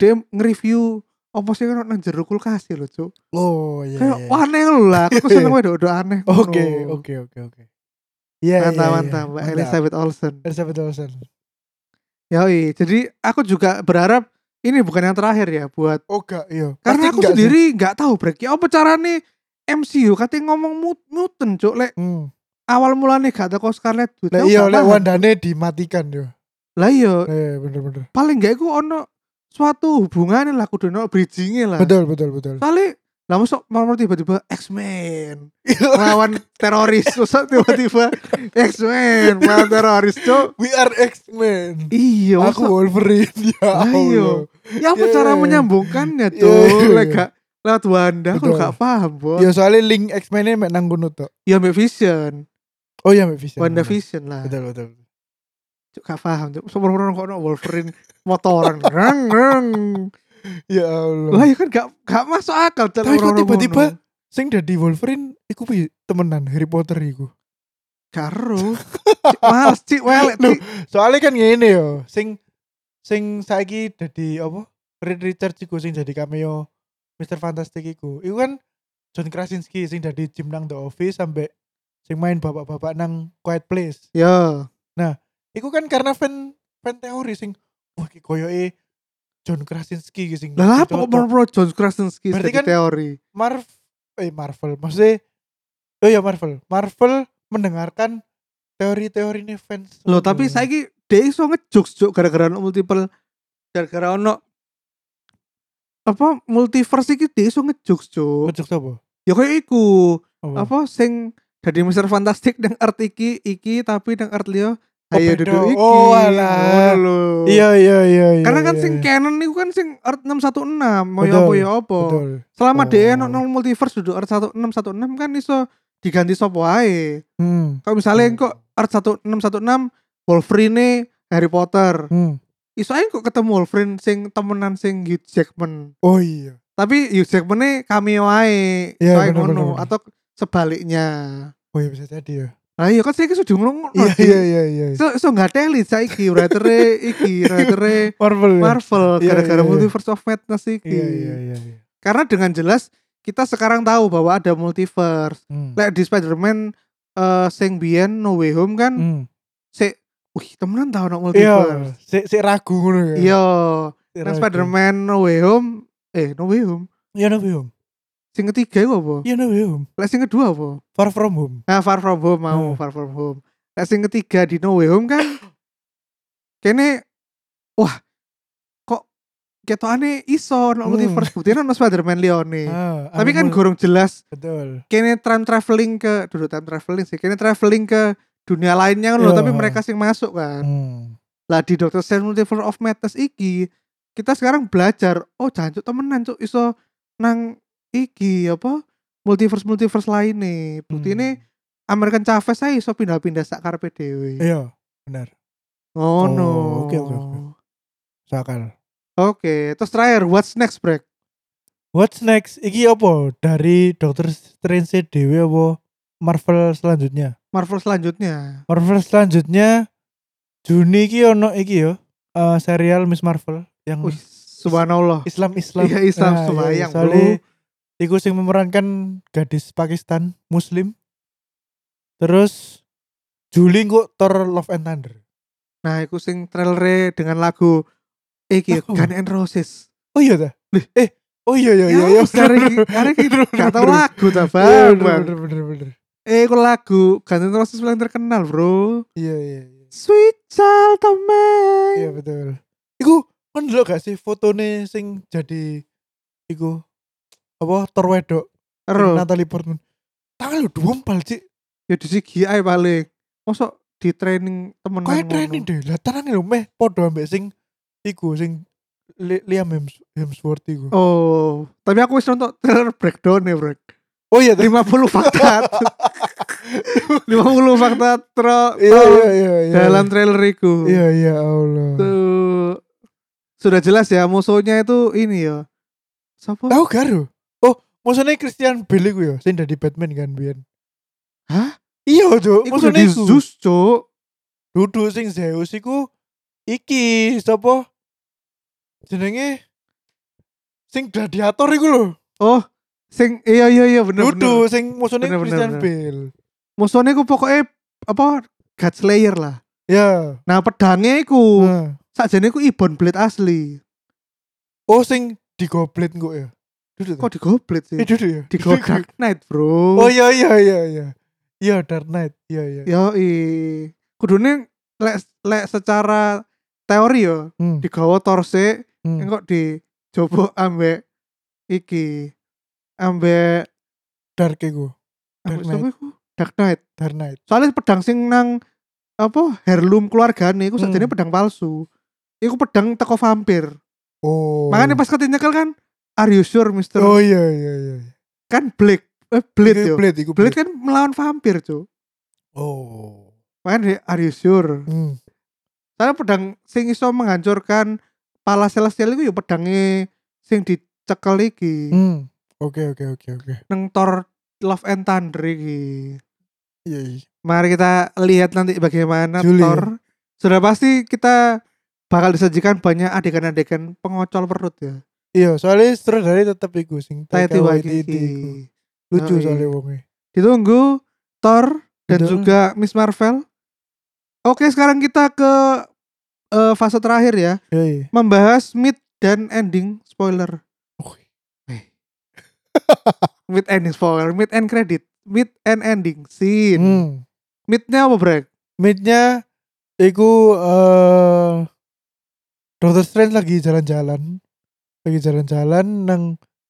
Speaker 1: DE nge-review apa sih kan nang jero kulkas e lho, Cuk.
Speaker 2: oh iya
Speaker 1: Kayak
Speaker 2: iya.
Speaker 1: wah, aneh lho lah, aku seneng wae do aneh. ngono.
Speaker 2: oke oke oke oke Iya, iya,
Speaker 1: Mantap,
Speaker 2: iya.
Speaker 1: mantap, Mbak Elizabeth Olsen.
Speaker 2: Elizabeth Olsen.
Speaker 1: Yoi, jadi aku juga berharap ini bukan yang terakhir ya buat
Speaker 2: Oh, gak, iya.
Speaker 1: karena
Speaker 2: Pasti
Speaker 1: aku
Speaker 2: enggak sih.
Speaker 1: sendiri nggak tahu break ya apa carane MCU katanya ngomong mut muten cuk lek
Speaker 2: Hmm.
Speaker 1: awal mulane gak teko Scarlet Witch.
Speaker 2: Lah
Speaker 1: aku
Speaker 2: iya
Speaker 1: gak
Speaker 2: lek
Speaker 1: paham.
Speaker 2: wandane dimatikan yo.
Speaker 1: Lah iya,
Speaker 2: Eh bener-bener.
Speaker 1: paling gak iku ono suatu hubungannya lah kudu ono bridgingnya lah
Speaker 2: Betul betul betul.
Speaker 1: kali lah masuk malam tiba-tiba X-Men melawan teroris masa tiba-tiba X-Men melawan teroris cok
Speaker 2: We are X-Men.
Speaker 1: iya
Speaker 2: Aku
Speaker 1: masuk
Speaker 2: Wolverine ya.
Speaker 1: Lah, iya.
Speaker 2: Allah.
Speaker 1: ya apa
Speaker 2: Iya.
Speaker 1: cara menyambungkannya
Speaker 2: Iya,
Speaker 1: cok
Speaker 2: iya, iya.
Speaker 1: Lek gak lewat Wanda aku
Speaker 2: Betul.
Speaker 1: gak paham bos
Speaker 2: Ya soalnya link X-Men-nya mek nang kono tok.
Speaker 1: ya Mbak Vision
Speaker 2: Oh iya mek Vision.
Speaker 1: Wanda
Speaker 2: bener.
Speaker 1: Vision lah
Speaker 2: Betul betul.
Speaker 1: cok gak paham cok semuanya kok no Wolverine motoran reng reng
Speaker 2: Ya Allah.
Speaker 1: lah ya kan gak gak masuk akal Cok,
Speaker 2: Tapi kok
Speaker 1: orang-orang
Speaker 2: tiba-tiba
Speaker 1: ngono.
Speaker 2: sing dadi Wolverine iku pi- temenan Harry Potter iku.
Speaker 1: karo Cik, males cik welek
Speaker 2: Loh,
Speaker 1: cik
Speaker 2: Soalnya kan ngene yo, sing sing saiki dadi apa? Reed Richards iku sing jadi cameo Mr. Fantastic iku. Iku kan John Krasinski sing dadi Jim nang The Office sampai sing main bapak-bapak nang Quiet Place.
Speaker 1: ya
Speaker 2: Iku kan karena fan fan teori sing wah iki koyoke John Krasinski iki sing.
Speaker 1: Lah
Speaker 2: sing
Speaker 1: apa kok
Speaker 2: cocok.
Speaker 1: pro John Krasinski
Speaker 2: Berarti
Speaker 1: Berarti
Speaker 2: kan-
Speaker 1: teori?
Speaker 2: Marv eh Marvel maksudnya oh ya Marvel Marvel mendengarkan teori-teori ini fans
Speaker 1: Loh, tapi saiki dia iso ngejokes juk gara-gara ono multiple gara-gara ono apa multiverse iki dia iso ngejokes juk.
Speaker 2: ngejok apa?
Speaker 1: Ya kayak iku.
Speaker 2: Apa?
Speaker 1: Apa sing dari Mr. Fantastic nang Earth iki iki tapi nang Earth liyo
Speaker 2: Oh,
Speaker 1: ayo
Speaker 2: beda.
Speaker 1: duduk iki.
Speaker 2: Oh, alah.
Speaker 1: Ngono lho.
Speaker 2: Iya iya iya iya.
Speaker 1: Karena kan
Speaker 2: iya,
Speaker 1: sing
Speaker 2: iya.
Speaker 1: canon niku kan sing Earth 616, mau
Speaker 2: Betul,
Speaker 1: ya apa ya apa.
Speaker 2: Betul.
Speaker 1: Selama dia
Speaker 2: Oh.
Speaker 1: ono nang multiverse duduk Earth 1616 kan iso diganti sopo ae.
Speaker 2: Hmm.
Speaker 1: Kalau misalnya
Speaker 2: Hmm.
Speaker 1: kok Art 1616 Wolverine Harry Potter.
Speaker 2: hmm.
Speaker 1: Iso aja kok ketemu Wolverine sing temenan sing Hugh Jackman.
Speaker 2: Oh iya.
Speaker 1: Tapi Hugh Jackman cameo ae.
Speaker 2: Iya,
Speaker 1: Soalnya ngono.
Speaker 2: bener, bener, bener.
Speaker 1: atau sebaliknya.
Speaker 2: Oh iya bisa jadi ya.
Speaker 1: Lah iya kan saiki sudah ngono.
Speaker 2: Iya
Speaker 1: Di-
Speaker 2: iya iya iya.
Speaker 1: So so nggak teli saiki writer iki writer
Speaker 2: Marvel. ya?
Speaker 1: Marvel
Speaker 2: Iya,
Speaker 1: gara-gara
Speaker 2: iya, iya.
Speaker 1: multiverse of madness iki.
Speaker 2: Iya iya iya. iya.
Speaker 1: Karena dengan jelas kita sekarang tahu bahwa ada multiverse.
Speaker 2: Hmm.
Speaker 1: Like di Spider-Man eh, sing biyen No Way Home kan
Speaker 2: Hmm.
Speaker 1: sik wih temenan tau ono
Speaker 2: Iya.
Speaker 1: multiverse.
Speaker 2: Si si ragu ngono ya.
Speaker 1: Iya,
Speaker 2: Si
Speaker 1: nang
Speaker 2: ragu.
Speaker 1: Spider-Man No Way Home, eh No Way Home.
Speaker 2: Iya no way home.
Speaker 1: Sing ketiga iku apa?
Speaker 2: Iya no way home.
Speaker 1: Lek sing kedua apa?
Speaker 2: Far from home.
Speaker 1: Nah, Far From Home mau,
Speaker 2: Hmm.
Speaker 1: Far From Home. Lek sing ketiga di No Way Home kan kene wah kok ketokane iso no
Speaker 2: Hmm.
Speaker 1: multiverse buktinya ono Spider-Man Lione.
Speaker 2: Ah,
Speaker 1: Tapi
Speaker 2: anu
Speaker 1: kan
Speaker 2: mul-
Speaker 1: gorong jelas
Speaker 2: betul.
Speaker 1: kene time traveling ke dulu time traveling sih. Kene traveling ke dunia lainnya kan
Speaker 2: Iya.
Speaker 1: loh, tapi mereka sing masuk kan.
Speaker 2: Hmm.
Speaker 1: Lah di Dr. Strange Multiverse of Madness iki kita sekarang belajar oh jancuk temenan cuk iso nang iki apa multiverse multiverse lain nih bukti ini American Chavez saya iso pindah-pindah sak karepe dhewe
Speaker 2: Hmm. Iya, benar.
Speaker 1: oh, no
Speaker 2: Oh, oke, oke, oke. Sakal.
Speaker 1: Oke, terus terakhir what's next break
Speaker 2: What's next? Iki apa? Dari Doctor Strange Dewi apa? Marvel selanjutnya.
Speaker 1: Marvel selanjutnya
Speaker 2: Marvel selanjutnya Juni iki ono iki yo. eh, serial Miss Marvel yang
Speaker 1: Wih, subhanallah
Speaker 2: Islam Islam. Nah,
Speaker 1: Iya, Islam sembayang,
Speaker 2: soalnya
Speaker 1: bro.
Speaker 2: iku sing memerankan gadis Pakistan Muslim. Terus Juli kok Thor Love and Thunder.
Speaker 1: nah iku sing trailer dengan lagu iki
Speaker 2: Lagu?
Speaker 1: Gun and Roses
Speaker 2: Oh iya dah.
Speaker 1: Lih.
Speaker 2: Eh, oh iya iya iya. iya, bener,
Speaker 1: karek
Speaker 2: bener.
Speaker 1: karek
Speaker 2: Bener,
Speaker 1: gak tau
Speaker 2: bener.
Speaker 1: lagu ta
Speaker 2: Iya,
Speaker 1: bang,
Speaker 2: bener,
Speaker 1: bang.
Speaker 2: bener, bener, bener.
Speaker 1: eh iku lagu Gun and Roses paling terkenal bro
Speaker 2: Iya iya iya.
Speaker 1: Sweet child of mine
Speaker 2: Iya betul. Iku kan dulu gak sih fotone sing jadi iku apa Thor wedok
Speaker 1: Ero.
Speaker 2: sing Natalie Portman. Tangan lu dumpal sih.
Speaker 1: ya di CGI paling mosok di training temenan
Speaker 2: Kayak
Speaker 1: ngono.
Speaker 2: training deh. Lah tangan lu meh podo ambek sing iku sing Li- Liam Hems- Hemsworth iku. Oh,
Speaker 1: oh tapi aku wis nonton trailer breakdown ya bro
Speaker 2: iya. tuh.
Speaker 1: 50 fakta 50 fakta tro
Speaker 2: Iya iya iya. iya.
Speaker 1: dalam trailer iku
Speaker 2: Iya iya Allah.
Speaker 1: Tuh. sudah jelas ya musuhnya itu ini ya siapa
Speaker 2: Tahu garu? Oh, maksudnya Christian Bale iku ya sing dadi Batman kan biyen.
Speaker 1: Hah?
Speaker 2: Iya, Cuk.
Speaker 1: Iku
Speaker 2: Maksudnya
Speaker 1: di
Speaker 2: iku.
Speaker 1: Zeus cok
Speaker 2: duduk sing Zeus iku iki sapa jenenge sing gladiator iku lho
Speaker 1: oh sing iya iya iya bener bener
Speaker 2: duduk sing musuhnya
Speaker 1: Bener, bener,
Speaker 2: Christian
Speaker 1: bener.
Speaker 2: Bale
Speaker 1: musuhnya iku pokoknya apa God Slayer lah
Speaker 2: ya
Speaker 1: nah pedangnya iku
Speaker 2: Nah.
Speaker 1: sakjane ku Ibon Blade asli.
Speaker 2: oh sing digoblet kok ya duduk
Speaker 1: Kok digoblet
Speaker 2: eh,
Speaker 1: sih?
Speaker 2: duduk ya
Speaker 1: Di
Speaker 2: Duduk.
Speaker 1: Dark Knight, Bro.
Speaker 2: oh iya iya iya iya iya Dark Knight iya iya
Speaker 1: Yo i. Kudune lek lek secara teori yo
Speaker 2: Hmm,
Speaker 1: digawa torse
Speaker 2: hmm.
Speaker 1: engko di jobo ambek iki ambek
Speaker 2: Dark iku
Speaker 1: ambek
Speaker 2: Dark
Speaker 1: sapa iku? Dark Knight.
Speaker 2: Dark Knight
Speaker 1: Soalnya pedang sing nang apa heirloom keluargane iku
Speaker 2: Hmm.
Speaker 1: sakjane pedang palsu. Iku pedang teko vampir.
Speaker 2: oh
Speaker 1: Makanya pas ketinyekel kan Are you sure, Mister?
Speaker 2: oh iya iya iya
Speaker 1: Kan Blade, eh Blade
Speaker 2: Iku
Speaker 1: yo.
Speaker 2: Blade iku
Speaker 1: Blade kan
Speaker 2: Blade
Speaker 1: melawan vampir cuy
Speaker 2: oh
Speaker 1: Makanya dia, are you sure?
Speaker 2: hmm.
Speaker 1: Soalnya pedang sing iso menghancurkan pala celestial itu ya pedangnya sing dicekel iki
Speaker 2: hmm. oke oke oke oke
Speaker 1: neng Thor Love and Thunder iki.
Speaker 2: iya iya
Speaker 1: Mari kita lihat nanti bagaimana
Speaker 2: Juli, ya.
Speaker 1: Thor. Sudah pasti kita bakal disajikan banyak adegan-adegan pengocol perut ya.
Speaker 2: Iya, soalnya sutradara tetep iku sing
Speaker 1: Taika
Speaker 2: Taika
Speaker 1: Waititi.
Speaker 2: Waititi iku. Lucu
Speaker 1: Yoi.
Speaker 2: soalnya wonge.
Speaker 1: Ditunggu Thor dan
Speaker 2: Betul.
Speaker 1: juga Miss Marvel. Oke, sekarang kita ke eh, fase terakhir ya.
Speaker 2: Yoi.
Speaker 1: membahas mid dan ending spoiler.
Speaker 2: Wih.
Speaker 1: Eh. mid ending spoiler, mid end credit, mid and ending scene.
Speaker 2: Hmm.
Speaker 1: Midnya apa brek?
Speaker 2: Midnya iku eh Doctor Strange lagi jalan-jalan. Lagi jalan-jalan nang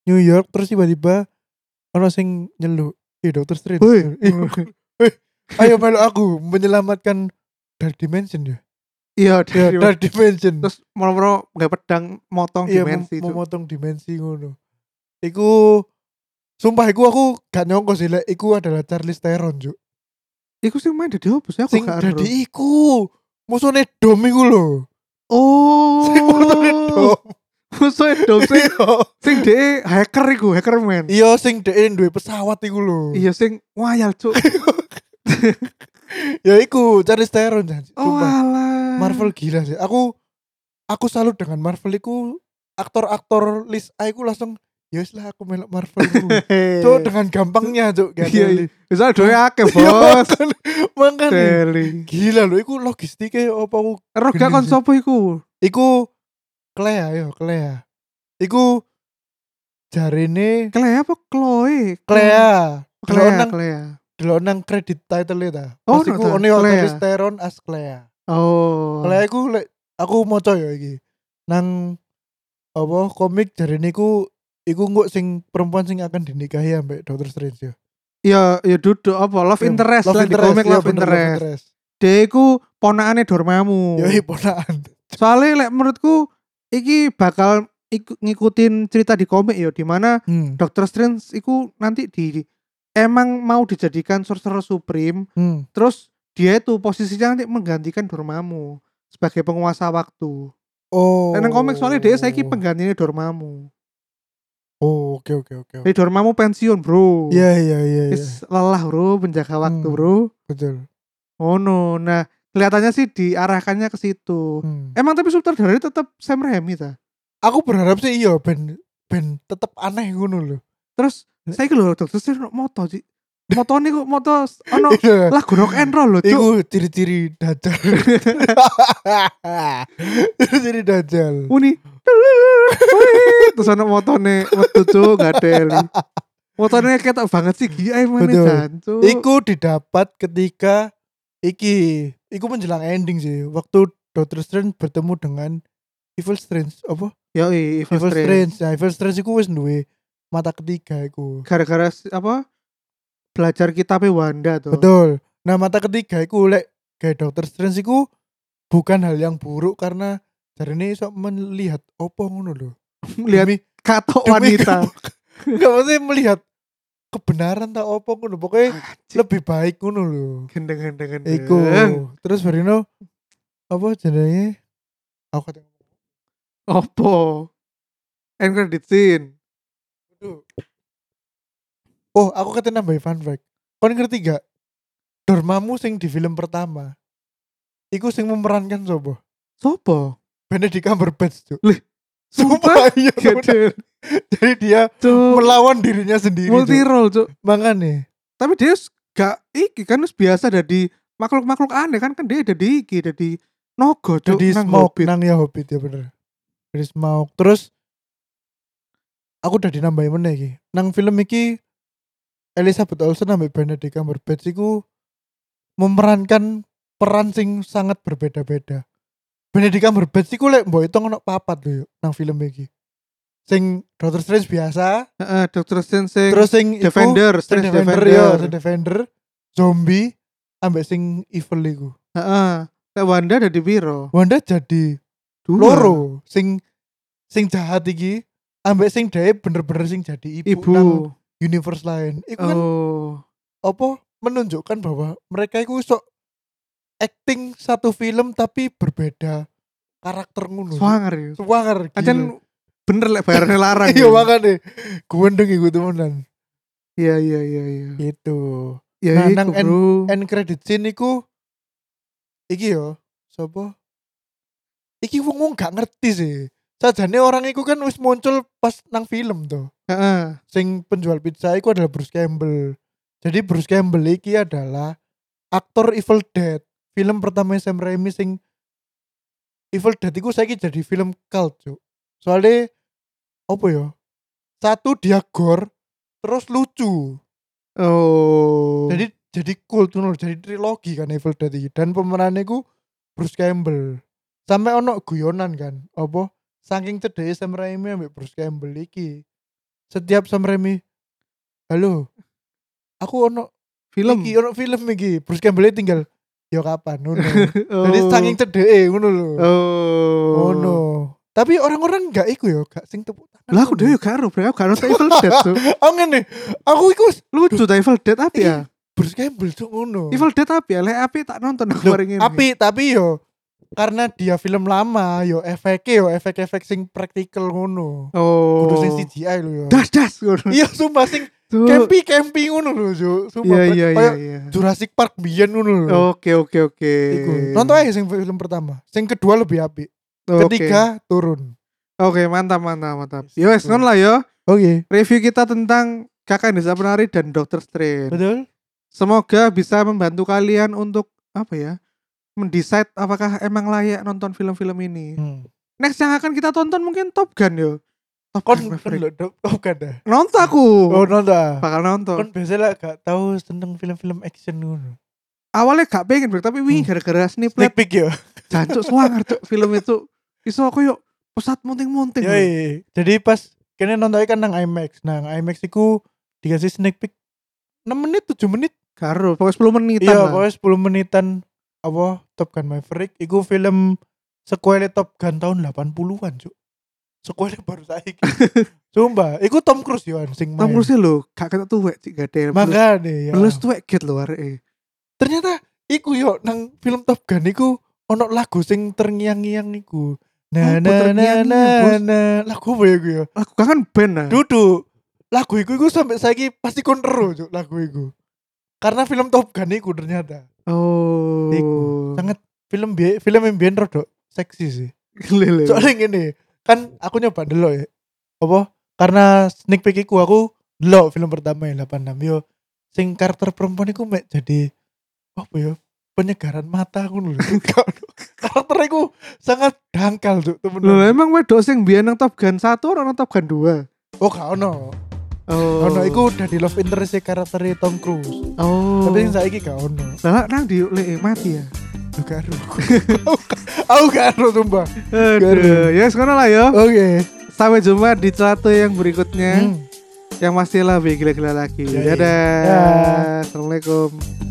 Speaker 2: New York terus tiba-tiba ono sing nyeluk, "Eh, Doctor Strange."
Speaker 1: Woi.
Speaker 2: Eh, Ayo melu aku menyelamatkan Dark Dimension ya.
Speaker 1: Iya,
Speaker 2: Ya,
Speaker 1: dari-
Speaker 2: Dark Dimension.
Speaker 1: terus moro-moro nggak pedang motong
Speaker 2: iya,
Speaker 1: dimensi itu.
Speaker 2: mem- memotong dimensi ngono. Iku sumpah iku aku gak nyongko sih lek iku adalah Charles Theron juk.
Speaker 1: Iku sing main dadi opo sih aku
Speaker 2: Sing
Speaker 1: gak ngerti.
Speaker 2: dadi iku musuhnya Dom iku lho. Sing musuhnya
Speaker 1: Oh.
Speaker 2: Dom.
Speaker 1: Musuhnya dong sing
Speaker 2: Iya.
Speaker 1: sing dhek hacker iku, hacker man.
Speaker 2: Iya sing dhek duwe pesawat iku lho.
Speaker 1: Iya sing wayal cuk.
Speaker 2: Ya iku Charles Theron janji.
Speaker 1: Oh
Speaker 2: Sumpah.
Speaker 1: alah.
Speaker 2: Marvel gila sih. Aku aku salut dengan Marvel iku aktor-aktor list A iku langsung ya wis lah aku melok Marvel iku. Cuk dengan gampangnya cuk. Gak
Speaker 1: Eh. Iya,
Speaker 2: ada-
Speaker 1: Bisa doe akeh,
Speaker 2: Iya,
Speaker 1: Bos.
Speaker 2: makan- makan nih.
Speaker 1: Teli.
Speaker 2: Gila lho iku logistiknya apa aku
Speaker 1: Roh gak kon
Speaker 2: Gendeng sih.
Speaker 1: sapa iku?
Speaker 2: Iku Klea yo Klea. Iku jarine
Speaker 1: Klea apa Chloe?
Speaker 2: Klea.
Speaker 1: Klea,
Speaker 2: Delok nang
Speaker 1: Klea.
Speaker 2: delok nang kredit title e ta.
Speaker 1: Oh,
Speaker 2: Pas iku
Speaker 1: no ta,
Speaker 2: ono yo
Speaker 1: Clea.
Speaker 2: tulis Teron as Klea.
Speaker 1: Oh.
Speaker 2: Klea iku lek aku maca yo iki. Nang apa komik jarine iku iku nguk sing perempuan sing akan dinikahi ambek Doctor Strange yo.
Speaker 1: Ya, ya duduk apa love
Speaker 2: Yo,
Speaker 1: interest lah di komik
Speaker 2: iya
Speaker 1: love interest.
Speaker 2: bener,
Speaker 1: Oh. Iya,
Speaker 2: interest.
Speaker 1: dia iku ponakane Dormammu.
Speaker 2: Yo ponakan.
Speaker 1: Soalnya lek menurutku iki bakal iku- ngikutin cerita di komik yo di mana
Speaker 2: Hmm.
Speaker 1: Doctor Strange iku nanti di emang mau dijadikan Sorcerer Supreme
Speaker 2: Hmm.
Speaker 1: terus dia itu posisinya nanti menggantikan Dormammu sebagai penguasa waktu.
Speaker 2: Oh.
Speaker 1: Dan nang komik soalnya dia saiki penggantinya Dormammu.
Speaker 2: Oh, oke oke oke. oke.
Speaker 1: Jadi Dormammu pensiun, Bro.
Speaker 2: Iya iya iya iya.
Speaker 1: Wis lelah, Bro, menjaga waktu,
Speaker 2: Hmm.
Speaker 1: Bro.
Speaker 2: Betul.
Speaker 1: Oh no, nah kelihatannya sih diarahkannya ke situ.
Speaker 2: Hmm.
Speaker 1: Emang tapi sutradaranya tetap Sam Raimi ta.
Speaker 2: Aku berharap sih iya ben ben tetep aneh ngono lho.
Speaker 1: Terus saya ke lho dokter sih moto sih. Moto nih kok moto ono
Speaker 2: Iya.
Speaker 1: lagu rock and roll lho cuk.
Speaker 2: Iku ciri-ciri dajal. ciri-ciri dajal.
Speaker 1: Uni. Terus ono motone metu cuk gadeli. Motone ketok banget sih GI mana
Speaker 2: Betul.
Speaker 1: dan cuk.
Speaker 2: Iku didapat ketika iki iku menjelang ending sih. Waktu Doctor Strange bertemu dengan Evil Strange apa?
Speaker 1: Yo Evil
Speaker 2: Evil
Speaker 1: Strange.
Speaker 2: Strange. Nah, Evil Strange iku wis duwe mata ketiga iku.
Speaker 1: Gara-gara si- apa? Belajar kitabnya Wanda tuh.
Speaker 2: Betul. Nah, mata ketiga iku lek kayak Doctor Strange iku bukan hal yang buruk karena jarene iso melihat opo ngono lho.
Speaker 1: Lihat
Speaker 2: Demi-
Speaker 1: katok
Speaker 2: demi
Speaker 1: wanita.
Speaker 2: kebe- Enggak maksudnya melihat kebenaran tak opo ngono. Pokoknya lebih baik ngono lho.
Speaker 1: Gendeng-gendeng.
Speaker 2: Iku.
Speaker 1: Eh.
Speaker 2: Terus Barino apa jenenge? Aku kata
Speaker 1: Opo? End credit scene.
Speaker 2: Oh, aku kata nambahin fun fact. Kon ngerti gak? Dormammu sing di film pertama. Iku sing memerankan sobo.
Speaker 1: Sopo?
Speaker 2: Benedict Cumberbatch tuh.
Speaker 1: Lih, sumpah?
Speaker 2: iya, bener.
Speaker 1: Gede.
Speaker 2: Jadi dia
Speaker 1: Cuk.
Speaker 2: melawan dirinya sendiri.
Speaker 1: Multi
Speaker 2: Cuk.
Speaker 1: role, Cuk.
Speaker 2: Makanya.
Speaker 1: Tapi dia s- gak iki kan wis biasa dari makhluk-makhluk aneh kan kan dia dari iki dari nogo Cuk,
Speaker 2: Jadi
Speaker 1: nang
Speaker 2: smoke
Speaker 1: Hobbit.
Speaker 2: nang ya hobbit ya bener. Jadi smoke. Terus aku udah dinambahin meneh iki. Nang film iki Elizabeth Olsen ambek Benedict Cumberbatch iku memerankan peran sing sangat berbeda-beda. Benedict Cumberbatch iku lek mbok hitung ono papat lho yuk, nang film iki. Sing Doctor Strange biasa,
Speaker 1: Heeh, Dr. Strange sing
Speaker 2: terus sing iku-
Speaker 1: Defender,
Speaker 2: sing
Speaker 1: Strange
Speaker 2: Defender, iya,
Speaker 1: Defender.
Speaker 2: yo, sing Defender, zombie ambek sing evil iku.
Speaker 1: Heeh. Lek Wanda ada di Biro.
Speaker 2: Wanda jadi
Speaker 1: Iya. Dua.
Speaker 2: loro sing sing jahat iki ambek sing dhewe bener-bener sing jadi ibu,
Speaker 1: Ibu.
Speaker 2: nang universe lain iku kan
Speaker 1: Oh.
Speaker 2: apa menunjukkan bahwa mereka iku iso acting satu film tapi berbeda karakter ngono
Speaker 1: Swanger ya.
Speaker 2: swanger gila.
Speaker 1: Acan bener lek bayarnya larang.
Speaker 2: iya
Speaker 1: ya.
Speaker 2: makane kuwendeng iku temenan
Speaker 1: Iya iya iya iya.
Speaker 2: gitu
Speaker 1: Ya
Speaker 2: Nah,
Speaker 1: iku,
Speaker 2: nang end-
Speaker 1: Bro.
Speaker 2: end credit scene iku iki yo sapa iki wong wong gak ngerti sih sajane orang iku kan wis muncul pas nang film tuh
Speaker 1: Heeh.
Speaker 2: sing penjual pizza itu adalah Bruce Campbell. Jadi Bruce Campbell iki adalah aktor Evil Dead. Film pertama Sam Raimi sing Evil Dead iku saiki jadi film cult, Cuk. Soalnya apa ya? Satu dia gore, terus lucu.
Speaker 1: Oh.
Speaker 2: Jadi jadi cool tuh, jadi trilogi kan Evil Dead iki dan pemerannya ku Bruce Campbell. Sampai ono guyonan kan. Apa saking cedeknya Sam Raimi ambek Bruce Campbell iki. Setiap Sam Raimi Halo. Aku ono
Speaker 1: film.
Speaker 2: iki oh, ono film iki. Bruce Campbell tinggal yo kapan ngono.
Speaker 1: Oh.
Speaker 2: Jadi saking cedeknya ngono lho.
Speaker 1: Oh.
Speaker 2: Ngono. Tapi orang-orang gak iku yo, gak sing tepuk tangan.
Speaker 1: Lah aku dhewe gak ero, Bro. Aku gak nonton Evil Dead, Cuk.
Speaker 2: Oh ngene. Aku iku
Speaker 1: Lucu ta Evil Dead apa
Speaker 2: Iya.
Speaker 1: ya?
Speaker 2: Bruce Campbell tuh ngono.
Speaker 1: Evil Dead apa ya? Lek api tak nonton aku
Speaker 2: Loh,
Speaker 1: hari ini.
Speaker 2: tapi tapi yo karena dia film lama yo efeknya yo efek-efek sing praktikal ngono
Speaker 1: Oh.
Speaker 2: kudu sing CGI lho yo
Speaker 1: Das das. Cuk.
Speaker 2: iya sumpah sing campy campy ngono lho Ju.
Speaker 1: Iya
Speaker 2: sumpah Brek.
Speaker 1: iya iya
Speaker 2: Kayak
Speaker 1: iya. Oh,
Speaker 2: Jurassic Park biyen ngono lho
Speaker 1: Oke oke oke.
Speaker 2: Hmm. Iku. nonton aja sing film pertama sing kedua lebih apik
Speaker 1: iya. Oke.
Speaker 2: ketiga turun
Speaker 1: Oke, mantap mantap mantap.
Speaker 2: Yes. Hmm.
Speaker 1: Yo wes ngono lah yo.
Speaker 2: oke
Speaker 1: Review kita tentang Kakak Desa Penari dan Dokter Strange.
Speaker 2: betul
Speaker 1: Semoga bisa membantu kalian untuk apa ya? mendesain apakah emang layak nonton film-film ini.
Speaker 2: hmm.
Speaker 1: Next yang akan kita tonton mungkin Top Gun yo. Top
Speaker 2: kon
Speaker 1: Gun
Speaker 2: kon
Speaker 1: Maverick.
Speaker 2: lho dok oh kan dah
Speaker 1: Nonton aku.
Speaker 2: oh nonton
Speaker 1: bakal nonton.
Speaker 2: kon biasanya lah gak tahu seneng film-film action ngono
Speaker 1: Awalnya gak pengen Bro, tapi wingi
Speaker 2: Hmm.
Speaker 1: gara-gara sniplet
Speaker 2: sneak peek yo
Speaker 1: jancuk suangar cuk film itu. Iso aku yuk pusat munting-munting.
Speaker 2: Yoi. Hmm. Jadi pas kene nontonnya kan nang IMAX. Nang IMAX iku dikasih sneak peek 6 menit 7 menit.
Speaker 1: Karo, pokoknya 10 menitan
Speaker 2: Iya,
Speaker 1: lah.
Speaker 2: pokoknya 10 menitan apa Top Gun Maverick iku film sequel Top Gun tahun 80-an, Cuk. Sequel baru saiki. Sumpah, iku Tom Cruise yo an, sing main.
Speaker 1: Tom Cruise lho, gak ketok tuwek sih gak ada.
Speaker 2: Makane ya.
Speaker 1: Lulus tuwek get lho areke.
Speaker 2: ternyata iku yo nang film Top Gun iku ono lagu sing terngiang-ngiang iku.
Speaker 1: Apa
Speaker 2: Na na na na
Speaker 1: terngiang-ngiang, Bos?
Speaker 2: na. Lagu apa ya iku yo?
Speaker 1: Aku kangen band nah.
Speaker 2: Duduk. Lagu iku iku sampai saiki pasti kon ero, Cuk, lagu iku. Karena film Top Gun iku ternyata.
Speaker 1: Oh.
Speaker 2: Iku. Sangat film bi film yang biyen rodok seksi sih.
Speaker 1: Lele.
Speaker 2: soalnya gini kan aku nyoba dulu ya apa karena sneak peek ku aku dulu film pertama yang 86 yo sing karakter perempuan iku mek jadi apa ya penyegaran mata aku lho karakter iku sangat dangkal tuh
Speaker 1: Lho
Speaker 2: temen
Speaker 1: emang wedok sing biyen nang Top Gun 1 ora nang Top Gun 2.
Speaker 2: oh gak ono
Speaker 1: Oh.
Speaker 2: ono iku udah di love interest karakter Tom Cruise
Speaker 1: Oh.
Speaker 2: tapi yang saiki gak ono
Speaker 1: Lah nang di le mati ya.
Speaker 2: Duh, gak aru aku gak aru sumpah
Speaker 1: Aduh, ya sekarang lah ya.
Speaker 2: oke
Speaker 1: Sampai jumpa di celatu yang berikutnya.
Speaker 2: Hmm. Iya,
Speaker 1: Yang pastilah lebih gila-gila lagi.
Speaker 2: Yoi.
Speaker 1: Dadah.
Speaker 2: Dah.
Speaker 1: Assalamualaikum.